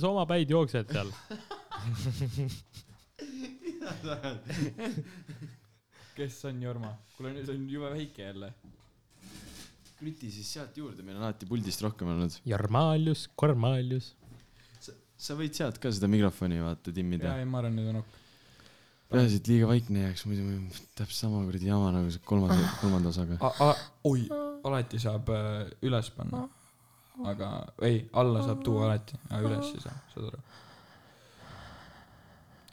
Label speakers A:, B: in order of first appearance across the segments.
A: sa oma päid jooksed seal ?
B: kes on Jorma ? kuule , nüüd on jube väike jälle .
C: krüti siis sealt juurde , meil on alati puldist rohkem olnud .
A: Jarmaalius , Kormaalius .
C: sa võid sealt ka seda mikrofoni vaata timmida
B: ja ,. ei , ma arvan , nüüd on ok .
C: peaasi , et liiga vaikne ei jääks , muidu me- täpselt sama kuradi jama nagu see kolmas ,
A: Ah.
C: kolmanda osaga .
B: oi , alati saab äh, üles panna . aga ei , alla saab tuua alati , aga üles ei saa , saad aru ?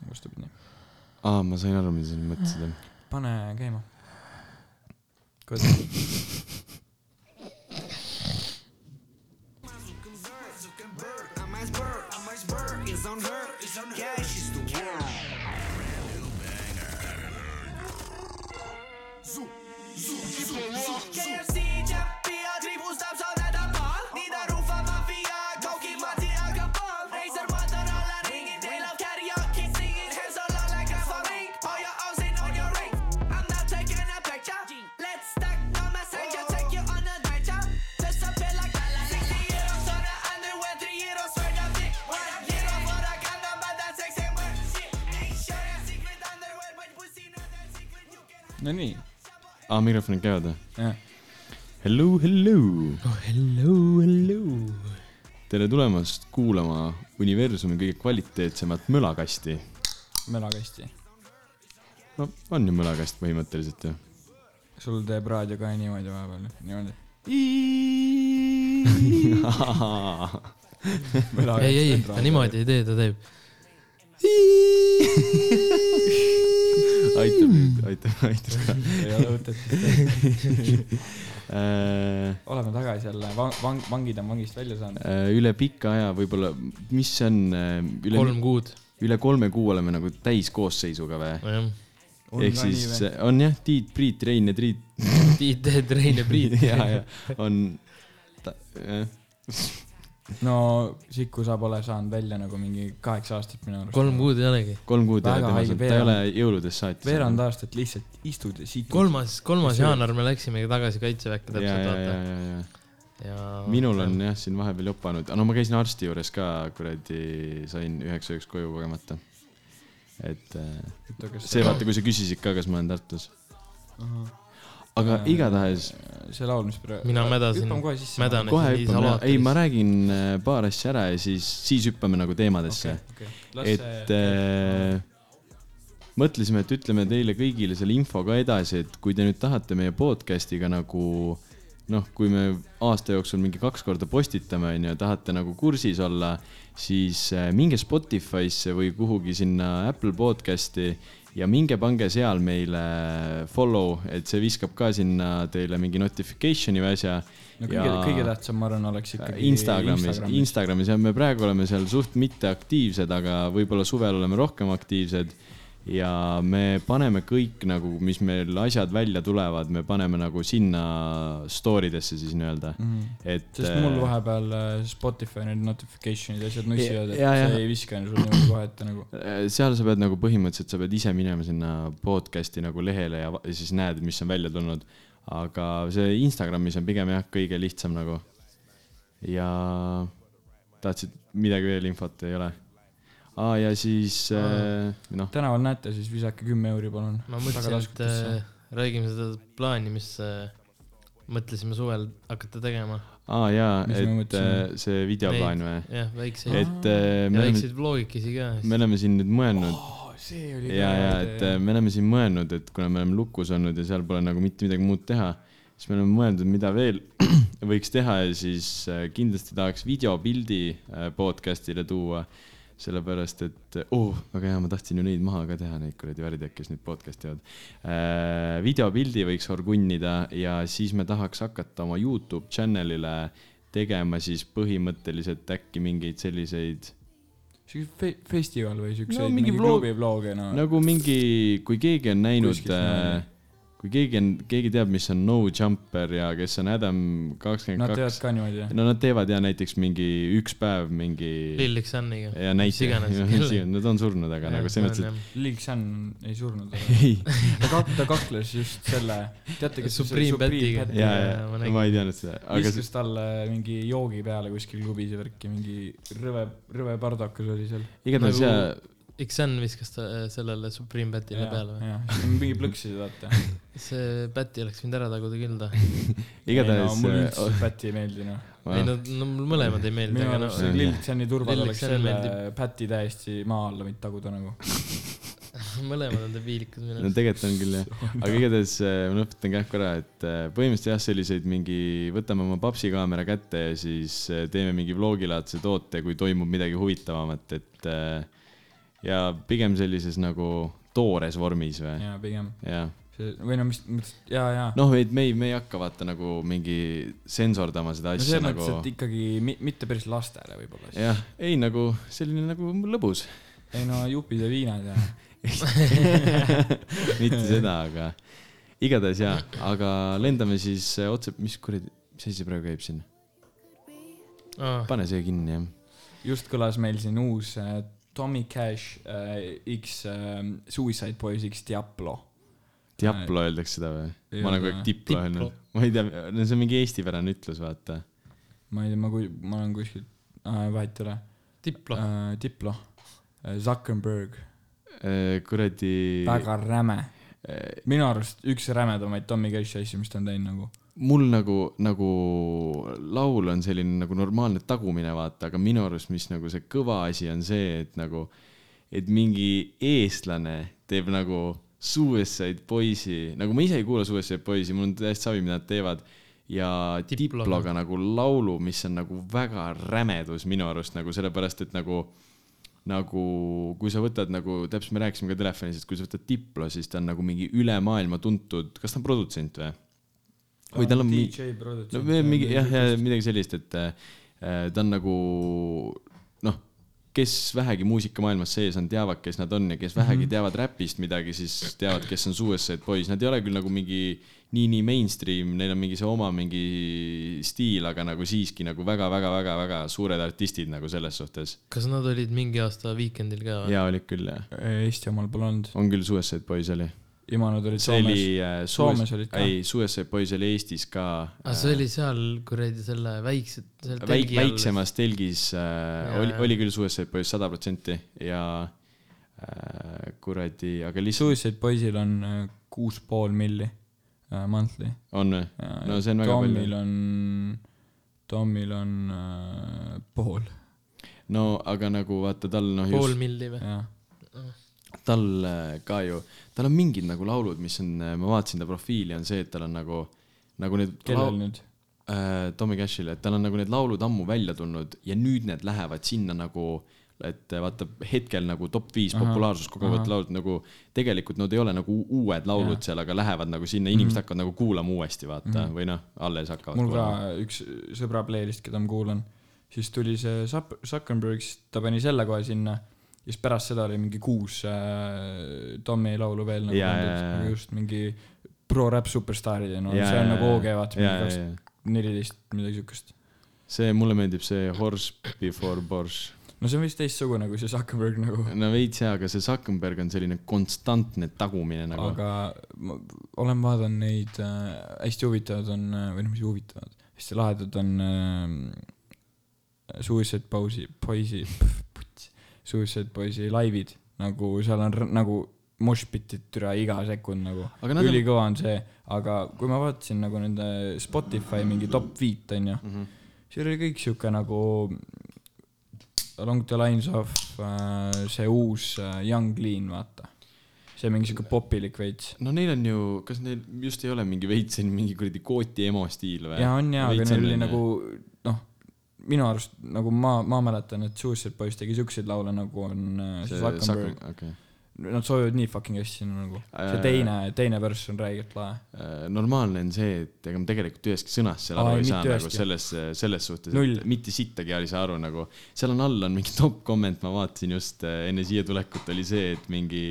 B: vastupidi .
C: aa , ma sain aru , mida sa nüüd mõtlesid .
B: pane käima . kuidas ?
D: I'm iceberg, I'm iceberg, it's on her, it's on her. Yeah, she's the world. KFC Champion, tributab saada tapal , nii ta ruufab maffia , kaugib mati aga pool , reisel vaatab alla ringi , teil on karaoke singing , hands on all like a fabric , hoia ausin on your ring . I m not taking a picture , let's stack no messenger , take you on adventure , just a bit like that like sixty euros on the underwear , three euros for the dick , one euro for a condom but that sex ain't worth shit . Ain't sure a secret underwear but pussy not that secret you can hide .
B: Nonii ,
C: aa , mikrofonid käivad või ?
B: jah .
C: Hello , hello
A: oh , hello , hello .
C: tere tulemast kuulama universumi kõige kvaliteetsemat mölakasti .
B: mölakasti .
C: no on ju mölakast põhimõtteliselt ju .
B: sul teeb raadio ka niimoodi vahepeal , niimoodi .
A: ei , ei , ta . niimoodi ei tee , ta teeb .
C: aitab nüüd , aitab , aitab .
B: ei ole mõtet .
C: Äh,
B: oleme tagasi jälle , vang , vang , vangid on vangist välja saanud .
C: üle pika aja võib-olla , mis see on , üle ,
A: kolm kuud .
C: üle kolme kuu oleme nagu täiskoosseisuga või ?
A: nojah .
C: ehk siis äh, on jah , Tiit , Priit , Rein ja Triit .
A: Tiit , Teet , Rein ja Priit .
C: ja , ja on , jah ,
B: no Siku sa pole saanud välja nagu mingi kaheksa aastat minu arust .
A: kolm . kuud ei olegi .
C: kolm kuud ei
B: Väga
C: ole
B: haige
C: temas , ta ei ole jõuludest saati .
B: veerand aastat lihtsalt istud ja situd .
A: kolmas , kolmas jaanuar me läksimegi tagasi kaitseväkke
C: ja ,
A: täpselt ,
C: ja , ja ,
A: vaata .
C: ja , ja
A: ja
C: minul on jah siin vahepeal jopanud , no ma käisin arsti juures ka kuradi , sain üheksa ööks koju kogemata . et äh, see vaata , kui sa küsisid ka , kas ma olen Tartus . aga
B: Äh,
C: igatahes
B: see laul , mis praegu .
A: Mina mädasin.
B: hüppame kohe sisse .
A: Mädan- Panen
C: kohe
A: siin nii
C: hüppame ,
A: salaatris.
C: ei , ma räägin äh, paar asja ära ja siis , siis hüppame nagu teemadesse
B: okei
C: okay. .
B: okei .
C: et äh, mõtlesime , et ütleme teile kõigile selle info ka edasi , et kui te nüüd tahate meie podcast'iga nagu noh , kui me aasta jooksul mingi kaks korda postitame , onju , tahate nagu kursis olla , siis äh, minge Spotify'sse või kuhugi sinna Apple podcast'i ja minge pange seal meile follow , et see viskab ka sinna teile mingi notification'i või asja .
B: no kõige , kõige tähtsam , ma arvan , oleks ikkagi
C: Äh, Instagramis , Instagramis ja me praegu oleme seal suht mitteaktiivsed , aga võib-olla suvel oleme rohkem aktiivsed . ja me paneme kõik nagu , mis meil asjad välja tulevad , me paneme nagu sinna story desse siis nii-öelda ,
B: Mhm.
C: et .
B: sest mul vahepeal äh, Spotify need notification'id ja asjad nussivad , et
C: ja- ja-
B: see ei viska sul niimoodi kohe ette nagu .
C: seal sa pead nagu põhimõtteliselt , sa pead ise minema sinna podcast'i nagu lehele ja va- ja siis näed , mis on välja tulnud . aga see Instagramis on pigem jah , kõige lihtsam nagu . ja tahtsid midagi veel infot , ei ole ? aa , ja siis äh, noh ,
B: tänaval näete , siis visake kümme euri , palun .
A: ma mõtlesin , et äh, räägime seda plaani , mis äh, mõtlesime suvel hakata tegema .
C: aa jaa ,
B: Mis me
C: et äh,
B: mõtlesime?
C: see videoplaan või ?
A: jah , väikseid ,
C: et äh, me oleme ,
A: väikseid vlogikesi ka .
C: me oleme siin nüüd mõelnud
B: oh, . see oli
C: ja , ja et äh, me oleme siin mõelnud , et kuna me oleme lukus olnud ja seal pole nagu mitte midagi muud teha , siis me oleme mõelnud , mida veel võiks teha ja siis äh, kindlasti tahaks videopildi äh, podcast'ile tuua . sellepärast , et oh , väga hea , ma tahtsin ju neid maha ka teha , neid kuradi värdjaid , kes nüüd podcast'i teevad äh, . videopildi võiks orgunnida ja siis me tahaks hakata oma Youtube channel'ile tegema siis põhimõtteliselt äkki mingeid selliseid
B: siukse fe- , festival või siukseid
C: No
B: no,
C: mingi
B: mingi
C: vlog-
B: klubi vloge , no, no. .
C: nagu mingi , kui keegi on näinud
B: Ah. Kuskilt ,
C: äh, kui keegi on , keegi teab , mis on no jumper ja kes on Adam
B: Nad
C: kakskümmend
B: teevad
C: kaks ,
B: ka niimoodi jah ?
C: no nad teevad ja näiteks mingi üks päev mingi
A: Lillik Sunniga .
C: ja
A: mis iganes,
C: näiteks
A: kelle- ,
C: nad on surnud , aga nagu selles mõttes ,
B: Lil Xan ei surnud .
C: et ei ,
B: ta kak- , ta kakles just selle , teate , kes
A: Supreme Bat'iga.
B: Bat-
C: ja ,
A: Jaa, ma
C: ja
A: nägin.
C: ma ei teadnud seda , aga
B: viskas talle mingi joogi peale kuskil klubis ja värki , mingi rõve , rõve pardakas oli seal .
C: s- igatahes äh,
A: nagu-
C: ja ,
A: Xan viskas ta äh, sellele Supreme Batile peale või ?
B: mingi plõksi vaata .
A: see Bati oleks võinud ära taguda küll ta .
C: igatahes
B: mulle
C: äh,
B: üldse Päti ei meeldi noh .
A: ei no , no mulle mõlemad ei meeldi ,
B: minu
A: aga noh ,
B: arust see
C: jah.
B: Lil Xani turval
A: Lil
B: oleks
A: Xan
B: selle
A: meeldib.
B: Päti täiesti maa alla võinud taguda nagu .
A: mõlemad on debiilikud minu
C: no
A: arust .
C: tegelikult on küll jah , aga igatahes äh, ma lõpetan kähku ära , et äh, põhimõtteliselt jah , selliseid mingi , võtame oma papsikaamera kätte ja siis äh, teeme mingi vlogilaadse toote , kui toimub midagi huvitavamat , et äh, ja pigem sellises nagu toores vormis või ,
B: jaa , pigem .
C: jah .
B: see , või no mis , mis , jaa , jaa .
C: noh , et me ei , me ei hakka vaata nagu mingi sensordama seda
B: no
C: asja
B: selles mõttes ,
C: nagu
B: et , ikkagi mi- mitte päris lastele võib-olla siis .
C: jah , ei nagu selline nagu lõbus ,
B: ei no jupid ja viinad ja .
C: mitte seda , aga igatahes jaa , aga lendame siis äh, otse , mis kuradi , mis asi praegu käib siin ?
A: aa ,
C: pane see kinni jah
B: just kõlas meil siin uus äh, Tommy Cash äh, X äh, Suicide Boys X Diablo . Äh,
C: Diablo öeldakse seda või ?
B: Ei
C: ma nagu
B: ole
C: olen kogu aeg
B: või?
C: Diplo öelnud . noh. ma ei tea , no see on mingi eestipärane ütlus , vaata .
B: ma ei tea , ma kui , ma olen kuskil äh, , vahet ei ole
A: Diplo .
B: äh, . Diplo äh, , Zuckerberg ,
C: Äh, kuradi .
B: väga räme .
C: Äh.
B: minu arust üks rämedamaid Tommy Cashi asju , mis ta on teinud nagu .
C: mul nagu , nagu laul on selline nagu normaalne tagumine , vaata , aga minu arust , mis nagu see kõva asi on see , et nagu , et mingi eestlane teeb nagu Suicide Boys'i , nagu ma ise ei kuula Suicide Boys'i , mul on täiesti savi , mida nad teevad ja
A: Diploga.
C: Diploga nagu laulu , mis on nagu väga rämedus minu arust nagu sellepärast , et nagu , nagu kui sa võtad nagu , täpselt me rääkisime ka telefonis , et kui sa võtad Diplo , siis ta on nagu mingi üle maailma tuntud , kas ta on produtsent või ? või tal on mingi ,
B: DJ Äh, produtsent
C: no või mingi jah , jah , midagi sellist , et äh, ta on nagu noh , kes vähegi muusikamaailmas sees on , teavad , kes nad on ja kes vähegi
B: Mhm.
C: teavad räpist midagi , siis teavad , kes on Suicide Boys , nad ei ole küll nagu mingi nii-nii mainstream , neil on mingi see oma mingi stiil , aga nagu siiski nagu väga-väga-väga-väga suured artistid nagu selles suhtes .
A: kas nad olid mingi aasta Weekendil ka
B: Ah.
A: või ?
C: ja olid küll jah ,
B: Äh, Eesti omal pole olnud .
C: on küll Suicide Boys oli .
B: ja nad olid
C: see
B: Soomes .
C: oli äh,
B: Soomes
C: Suicide-
B: olid ka.
C: ei , Suicide Boys oli Eestis ka .
A: aa , Ah, see oli seal kuradi selle väikse , seal
C: väik- ,
A: telgi all .
C: väiksemas telgis äh,
A: Jaa,
C: oli ,
A: jaa.
C: oli küll Suicide Boys sada protsenti ja äh, kuradi , aga lihtsalt
B: Suicide Boysil on äh, kuus pool milli äh, monthly
C: on või ?
B: Ja-
C: No
B: Äh, ja
C: see on väga
B: Tomil
C: palju.
B: on , Tomil on äh, pool ,
C: no aga nagu vaata tal noh ,
A: pool
C: just
A: milli või ?
B: jah .
C: tal äh, ka ju , tal on mingid nagu laulud , mis on , ma vaatasin ta profiili , on see , et tal on nagu , nagu need
B: kellel nüüd ?
C: äh, Tommy Cashile , et tal on nagu need laulud ammu välja tulnud ja nüüd need lähevad sinna nagu , et vaata hetkel nagu top viis populaarsust koguvad laulud nagu tegelikult nad ei ole nagu u- uued laulud ja. seal , aga lähevad nagu sinna , inimesed mm -hmm. hakkavad nagu kuulama uuesti vaata mm -hmm. või noh , alles hakkavad
B: Mhm. mul ka
C: kuulama .
B: üks sõbra playlist , keda ma kuulan , siis tuli see Zuck- Zuckerberg , siis ta pani selle kohe sinna ja siis pärast seda oli mingi kuus äh, Tommy laulu veel nagu
C: Jaa,
B: pandud.
C: jaa, jaa.
B: Aga just mingi pro-rap superstaarid ja no ja, see on nagu OG vaata , mingi kaks tuhat neliteist , midagi siukest .
C: see , mulle meeldib see Horse Before Borš .
B: no see on vist teistsugune kui see Zuckerberg nagu
C: no veits jaa , aga see Zuckerberg on selline konstantne tagumine nagu .
B: aga ma olen vaadanud neid äh, , hästi huvitavad on , või noh , mis huvitavad , hästi lahedad on äh, Suicide Boys'i , Boys'i , Suicide Boys'i laivid , nagu seal on r- nagu moshpitid türa iga sekund nagu ,
C: Aga nad on-
B: ülikõva on see , aga kui ma vaatasin nagu nende Spotify mingi top viit onju mm ,
C: Mhm.
B: -hmm. seal oli kõik siuke nagu Along the lines of äh, see uus äh, Young Lean , vaata . see mingi siuke popilik veits .
C: no neil on ju , kas neil just ei ole mingi veits selline mingi kuradi kooti emo stiil või ?
B: ja on jaa , aga
C: Veits
B: neil
C: on,
B: oli
C: on ju.
B: nagu noh , minu arust nagu ma , ma mäletan , et Suicide Boys tegi siukseid laule nagu on äh, see Zuckerberg .
C: okei .
B: Nad soovivad nii fucking hästi sinna nagu . see
C: Äh,
B: teine , teine verss on räigelt lahe .
C: Äh, normaalne on see , et ega ma tegelikult ühestki sõnast seal
B: Aa,
C: aru
B: ei,
C: ei saa
B: mitte
C: nagu
B: ühestki.
C: selles , selles suhtes ,
B: Null.
C: et mitte sittagi ei saa aru nagu . seal on all on mingi top komment , ma vaatasin just äh, enne siia tulekut oli see , et mingi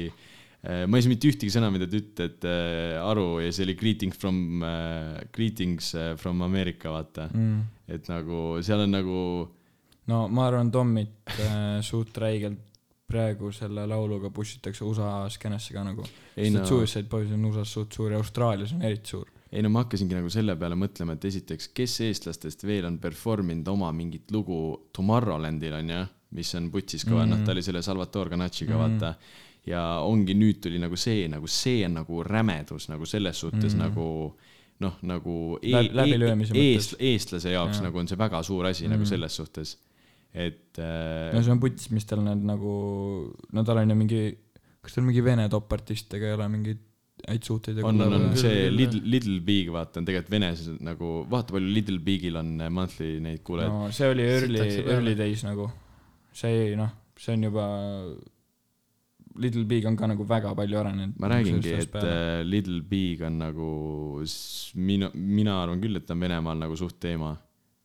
C: ma ei saa mitte ühtegi sõna , mida te ütlete , aru ja see oli greetings from , greetings äh, from America , vaata .
B: mm. .
C: et nagu seal on nagu ,
B: no ma arvan , Tommit äh, suht räigelt praegu selle lauluga push itakse USA skeenesse ka nagu .
C: ei no ,
B: Suicide Boys on USA-s suht suur ja Austraalias on eriti suur .
C: ei no ma hakkasingi nagu selle peale mõtlema , et esiteks , kes eestlastest veel on performinud oma mingit lugu Tomorrowlandil onju , mis on putsis kõva mm , -hmm. noh , ta oli selle Salvatore Ganachiga mm , -hmm. vaata . ja ongi nüüd tuli nagu see , nagu see on nagu rämedus nagu selles suhtes mm -hmm. nagu noh , nagu e
B: Läbi- läbilöömise
C: e
B: mõttes.
C: eest, eestlase jaoks
B: Jaa.
C: ja. nagu on see väga suur asi mm -hmm. nagu selles suhtes , et
B: no
C: äh,
B: see on puts , mis tal need nagu , no tal on ju mingi , kas tal mingi vene top-artistidega ei ole mingeid häid suhteid ?
C: on , on , on
A: Küll,
C: see
A: küll,
C: Little , Little Big , vaata , on tegelikult Venes nagu , vaata palju Little Bigil on äh, monthly neid kuulajaid
B: no see oli early
A: Sitakse , peale.
B: early days nagu . see noh , see on juba , Little Big on ka nagu väga palju arenenud .
C: ma räägingi , et äh, Little Big on nagu , mina , mina arvan küll , et ta on Venemaal nagu suht teema .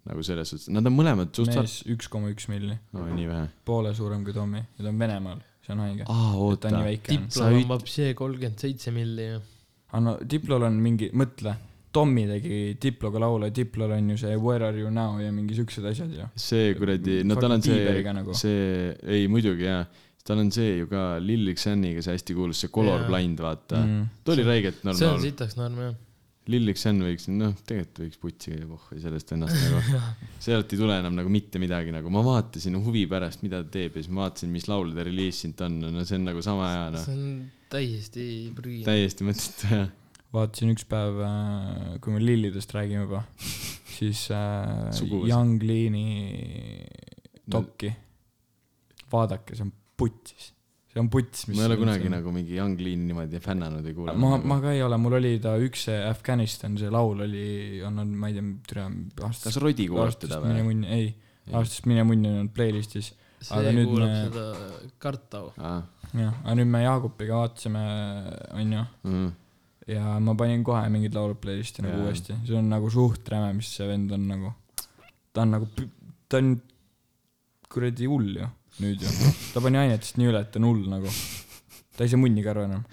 C: nagu selles suhtes , nad on mõlemad suht sarnased .
B: mees üks koma üks milli ,
C: no nii vähe .
B: poole suurem kui Tommy ja ta on Venemaal , see on haige .
C: aa ,
B: ta
C: oota
B: on nii . väike .
A: Diplo
C: Sa üt-
A: tõmbab see kolmkümmend seitse milli ja
B: aga no Diplol on mingi , mõtle , Tommy tegi Diploga laule , Diplol on ju see Where are you now ja mingi siuksed asjad ju .
C: see kuradi , no tal on
B: Fucking
C: see
B: Bieberiga nagu. ,
C: see , ei muidugi jaa . tal on see ju ka Lil Xaniga see hästi kuulus , see Color
A: Jaa.
C: Blind , vaata mm. .
B: Mm.
C: ta oli räigelt
A: see on
C: normaal .
A: sitaks norm jah .
C: Lil Xan võiks , noh , tegelikult võiks putsi käia pohhu sellest ennast nagu . sealt ei tule enam nagu mitte midagi , nagu ma vaatasin huvi pärast , mida ta teeb ja siis ma vaatasin , mis laul ta reliisinud on , no see on nagu sama hea noh .
A: see on täiesti prügi .
C: täiesti mõttetu jah .
B: vaatasin üks päev , kui me lillidest räägime juba , siis äh,
C: Suguvõsa.
B: Young Leani dokki . vaadake , see on putsis , see on puts , mis
C: ma ei ole kunagi . nagu mingi Young Lean niimoodi fännanud või kuulanud .
B: ma , ma ka ei ole , mul oli ta üks see Afganistan , see laul oli , on , on , ma ei tea , türa aastast .
C: kas Rodi kuulab teda või ?
B: ei , aastast Mine munni on olnud playlist'is
A: see
B: Aga nüüd
A: kuulab
B: me-
A: seda Kartau .
C: aa ,
B: jah , aga nüüd me Jaagupiga vaatasime , onju ,
C: mm.
B: ja ma panin kohe mingid laulud playlist'i nagu
C: Jaa.
B: uuesti , see on nagu suht räme , mis see vend on nagu , ta on nagu , ta on kuradi hull ju , nüüd ju , ta pani ainetest nii üle , et ta on hull nagu , ta ei saa munnigi aru enam .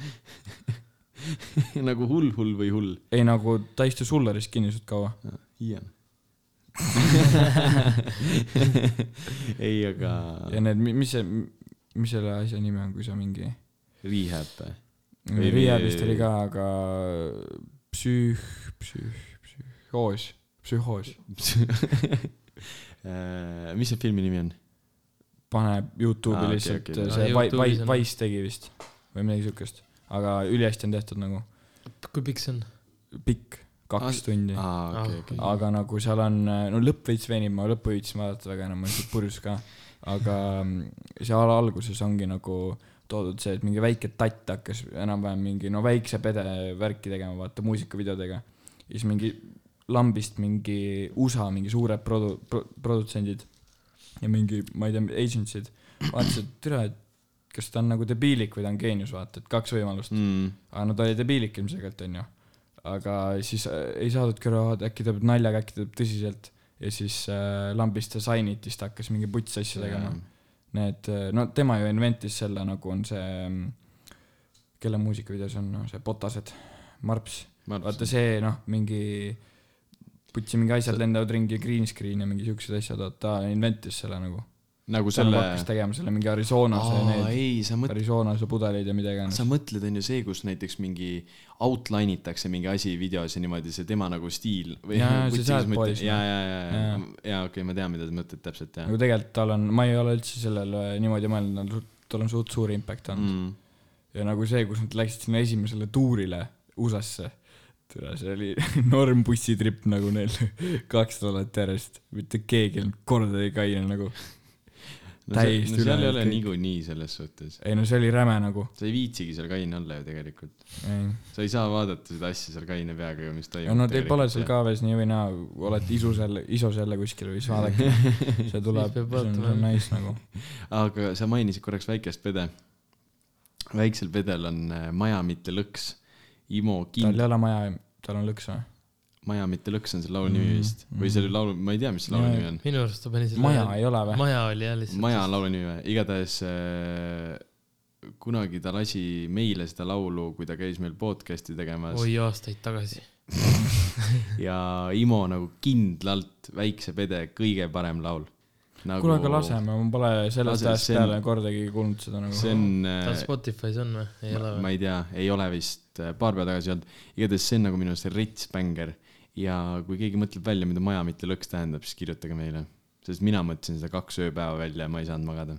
C: nagu hull , hull või hull ?
B: ei nagu , ta istus hullaris kinni suht kaua ,
C: Ian . ei , aga
B: ja need , mis see , mis selle asja nimi on , kui sa mingi ,
C: Rehab või ? Või-
B: Riiabist oli ka , aga psüüh , psüüh , psühhoos , psühhoos
C: Äh, mis see filmi nimi on ?
B: paneb Youtube'i
C: Aa,
B: ah,
C: okei,
B: lihtsalt
C: okei.
B: okay, okay.
A: Aa,
B: see Wi-
A: Youtube'is
B: Wi-
A: on- ,
B: Wise tegi vist või midagi siukest , aga ülihästi on tehtud nagu
A: kui pikk see on ?
B: pikk , kaks
C: Aa,
B: ah, tundi ah, ,
C: aa , okei , okei .
B: aga nagu seal on , no lõpp veits venib , ma lõppu ei viitsinud vaadata väga enam , ma olin suht purjus ka , aga seal alguses ongi nagu toodud see , et mingi väike tatt hakkas enam-vähem mingi no väikse pede värki tegema , vaata muusikavideodega , siis mingi lambist mingi USA mingi suured produ- , pro- , produtsendid ja mingi , ma ei tea , agentsid vaatasid , et tere , et kas ta on nagu debiilik või ta on geenius , vaata , et kaks võimalust .
C: Hmm.
B: aga no ta oli debiilik ilmselgelt , onju . aga siis äh, ei saadudki aru , äkki ta peab naljaga , äkki ta peab tõsiselt . ja siis äh, lambist ta sainit , siis ta hakkas mingi putsi asju tegema . Need , no tema ju inventis selle , nagu on see , kelle muusikavideos on no, see Potased , Marps . vaata see , noh , mingi , putsi mingi asjad lendavad ringi , green screen ja mingi siuksed asjad , ta inventis selle nagu .
C: nagu
B: ta
C: selle
B: nagu hakkas tegema selle mingi Arizonas ja
C: aa ,
B: need ,
C: ei , sa mõtled ,
B: Arizonas ja pudelid ja mida iganes .
C: sa mõtled , on ju see , kus näiteks mingi outline itakse mingi asi videos ja niimoodi see tema nagu stiil või
B: Jaa, see Sad Boys,
C: ja , ja ,
B: noh.
C: ja , ja
B: Jaa. ,
C: ja okei , ma tean , mida sa mõtled täpselt , jah
B: nagu tegelikult tal on , ma ei ole üldse sellele niimoodi mõelnud , tal on suht suur impact olnud mm. .
C: mm. .
B: ja nagu see , kus nad läksid sinna esimesele tuurile USA-sse , tere , see oli norm bussitripp nagu neil kaks nädalat järjest , mitte keegi ei olnud kordagi ei käinud nagu .
C: No, see-
B: Täiesti
C: no seal ei
B: ülejäänud
C: ole
B: kõik.
C: niikuinii selles suhtes .
B: ei no see oli räme nagu .
C: sa ei viitsigi seal kaine olla ju tegelikult .
B: ja
C: sa ei saa vaadata seda asja seal kaine peaga ju , mis toimub .
B: no teil pole seal . kaaves nii või naa , olete isu seal , isos jälle kuskil või siis vaadake , see tuleb ,
A: peab
B: see on see on
A: vaatama.
B: nice nagu .
C: aga sa mainisid korraks väikest pede . väiksel pedel on äh, maja mitte lõks . Imo
B: tal
C: kind- ,
B: ei ole maja , tal on lõks või ?
C: maja mitte lõks on selle laulu nimi vist või
B: Mm.
C: selle laulu , ma ei tea , mis selle laulu
B: Jaa.
C: nimi on .
A: minu arust ta pani selle
B: maja ei ole või ?
A: maja oli jah lihtsalt .
C: maja on laulu nimi või ? igatahes äh, kunagi ta lasi meile seda laulu , kui ta käis meil podcast'i tegemas
A: oi aastaid tagasi .
C: ja Imo nagu kindlalt Väikse Pede kõige parem laul nagu...
B: kuule , aga laseme , ma pole sellest
C: Lase,
B: ajast
C: see on-
B: peale kordagi kuulnud seda nagu .
C: see on
A: tal Spotify's on või ? ei
C: Äh, ma,
A: ole
C: ma
A: või ?
C: ei tea , ei ole vist , paar päeva tagasi ei olnud . igatahes see on nagu minu arust rets bänger ja kui keegi mõtleb välja , mida maja mitte lõks tähendab , siis kirjutage meile . sest mina mõtlesin seda kaks ööpäeva välja ja ma ei saanud magada .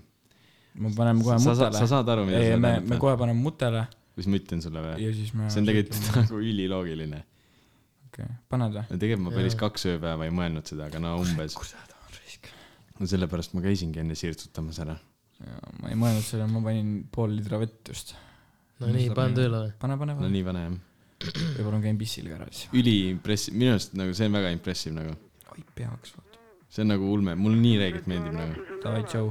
B: me paneme kohe
C: sa, sa, sa
B: mutele .
C: saad aru , mida
B: ei ,
C: see
B: me , me
C: tähendab ?
B: kohe paneme mutele
C: mis ma ütlen sulle või ?
B: ja siis me .
C: see on tegelikult . nagu üliloogiline .
B: okei , paned või ?
C: tegelikult ma päris
A: Jaa.
C: kaks ööpäeva ei mõelnud seda , aga no umbes .
B: kurat , on risk .
C: no sellepärast ma käisingi enne sirtsutamas ära .
B: ma ei mõelnud selle , ma panin pool liitra vett just .
A: no nii , panen tööle või ?
B: pane , pane ,
C: no
B: pane .
C: nii , pane jah .
B: võib-olla ma käin pissil ka ära siis .
C: üliimpressiv , minu arust nagu see on väga impressive nagu .
B: oi , peaks , vaata .
C: see on nagu ulme , mulle nii reeglit meeldib nagu .
B: Davai , tšau .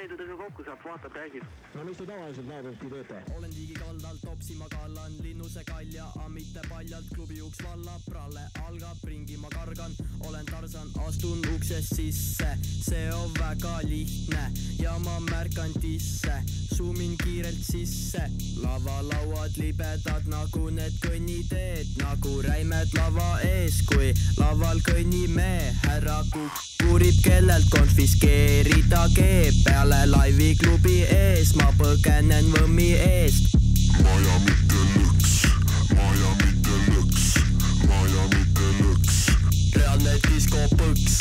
E: näidudega kokku saab , vaatab , räägib .
F: olen liigikaldal , topsima kallan , linnuse kalja , ammite paljalt , klubi uks vallab , pralle algab , ringi ma kargan , olen tarsan , astun uksest sisse , see on väga lihtne ja ma märkan tisse , sumin kiirelt sisse , lavalauad libedad nagu need kõnniteed , nagu räimed lava ees , kui laval kõnnime , härra Kukk uurib , kellelt konfiskeerida keeb , peale laivi klubi ees ma põgenen võmmi eest , reaalne diskopõks .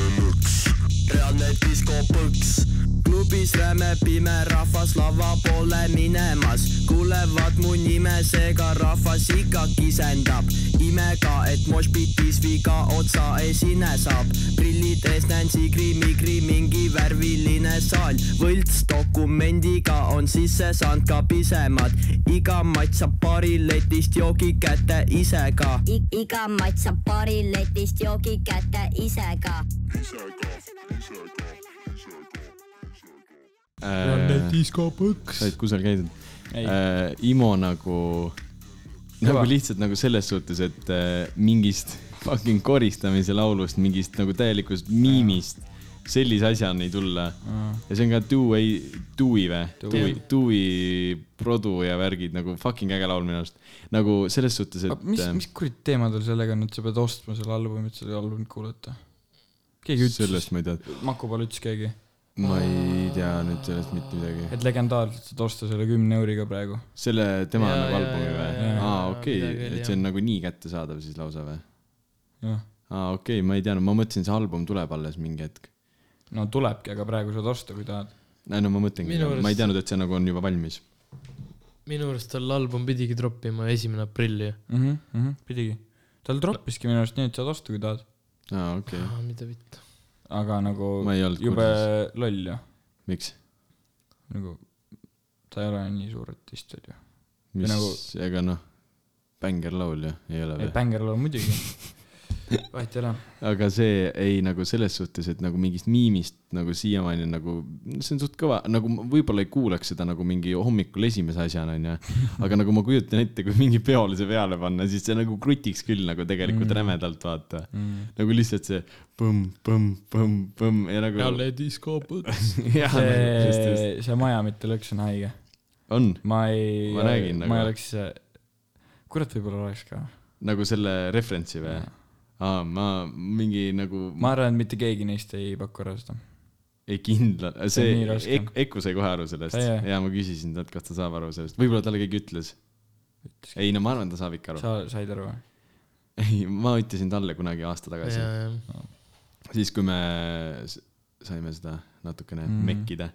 F: maja mitte lõks , maja mitte lõks , maja mitte lõks , maja mitte lõks . reaalne diskopõks . klubis räme pime rahvas lava poole minemas , kuulevad mu nime , seega rahvas ikka kisendab . imega , et moshpitis viga otsa esine saab , prillid ees näen sigri-migri , mingi värviline saal , võlts dokumendiga on sisse saanud ka pisemad , iga matt saab paari letist joogi kätte ise ka
G: I- iga mats saab paari letist joogi kätte ise ka .
B: diskopõks
C: sa olid kusagil käidud ?
B: Ei.
C: äh, Imo nagu , nagu
B: Kõva.
C: lihtsalt nagu selles suhtes , et äh, mingist fucking koristamise laulust , mingist nagu täielikust miimist sellise asjani tulla . ja see on ka Dewey , Dewey või ? Dewey , Dewey produ ja värgid nagu fucking äge laul minu arust . nagu selles suhtes , et . äh,
B: mis , mis kuradi teema tal sellega on , et sa pead ostma selle albumi , et seda albumit kuulata ? keegi ütles ,
C: sellest ma ei tea ,
B: Maku peal ütles keegi ,
C: ma ei tea nüüd sellest mitte midagi .
B: et legendaarselt saad osta selle kümne euriga praegu .
C: selle , tema
A: Jaa,
C: nagu
A: jaa,
C: albumi
A: jaa,
C: või
A: jaa, ?
B: jaa,
C: aa ,
A: jaa,
C: okei
A: midagi , oli,
C: et see on nagu nii kättesaadav siis lausa või ?
B: jah ,
C: aa , okei okay, , ma ei teadnud , ma mõtlesin , see album tuleb alles mingi hetk .
B: no tulebki , aga praegu saad osta , kui tahad .
C: ei no ma mõtlengi
A: Minu ,
C: ma ei
A: arust-
C: teadnud , et see nagu on juba valmis .
A: minu arust tal album pidigi troppima esimene aprill ju .
C: Mhm,
B: pidigi . tal troppiski minu arust nii , et saad osta , kui tahad .
C: aa , okei okay. ,
A: aa , Ah, mida vittu .
B: aga nagu
C: Ma ei olnud
B: jube
C: kursis.
B: loll ju ,
C: miks ?
B: nagu ta ei ole nii suur artist , onju .
C: mis nagu...
B: nagu- ,
C: ega noh , bängerlaul ju , ei ole
B: ei ,
C: või ?
B: bängeril on muidugi . vahet ei ole .
C: aga see ei nagu selles suhtes , et nagu mingist miimist nagu siiamaani on nagu , see on suht kõva , nagu ma võib-olla ei kuulaks seda nagu mingi hommikul esimese asjana onju . aga nagu ma kujutan ette , kui mingi peole see peale panna , siis see nagu krutiks küll nagu tegelikult
B: Mm.
C: mm. rämedalt vaata .
B: Mm.
C: nagu lihtsalt see põmm-põmm-põmm-põmm ja nagu .
A: jälle diskopõks .
C: jah , just , just .
B: see , see maja mitte lõks on haige .
C: on
B: ma ei ,
C: Ma räägin
B: ma
C: nagu-
B: ei oleks , kurat , võib-olla oleks ka .
C: nagu selle referentsi või ? aa , ma mingi nagu ma...
B: ma arvan , et mitte keegi neist ei paku ära seda .
C: ei kindla ,
B: See on
C: see
B: nii raske.
C: Ek- , Eku sai kohe aru sellest
B: Jaa,
C: ja,
B: jaa.
C: ja ma küsisin talt , kas ta saab aru sellest , võib-olla talle keegi ütles . ei no ma arvan , ta saab ikka aru .
B: sa said aru või ?
C: ei , ma ütlesin talle kunagi aasta tagasi ja. ,
A: jajah .
C: siis kui me s- saime seda natukene mm.
B: Mhm.
C: mekkida .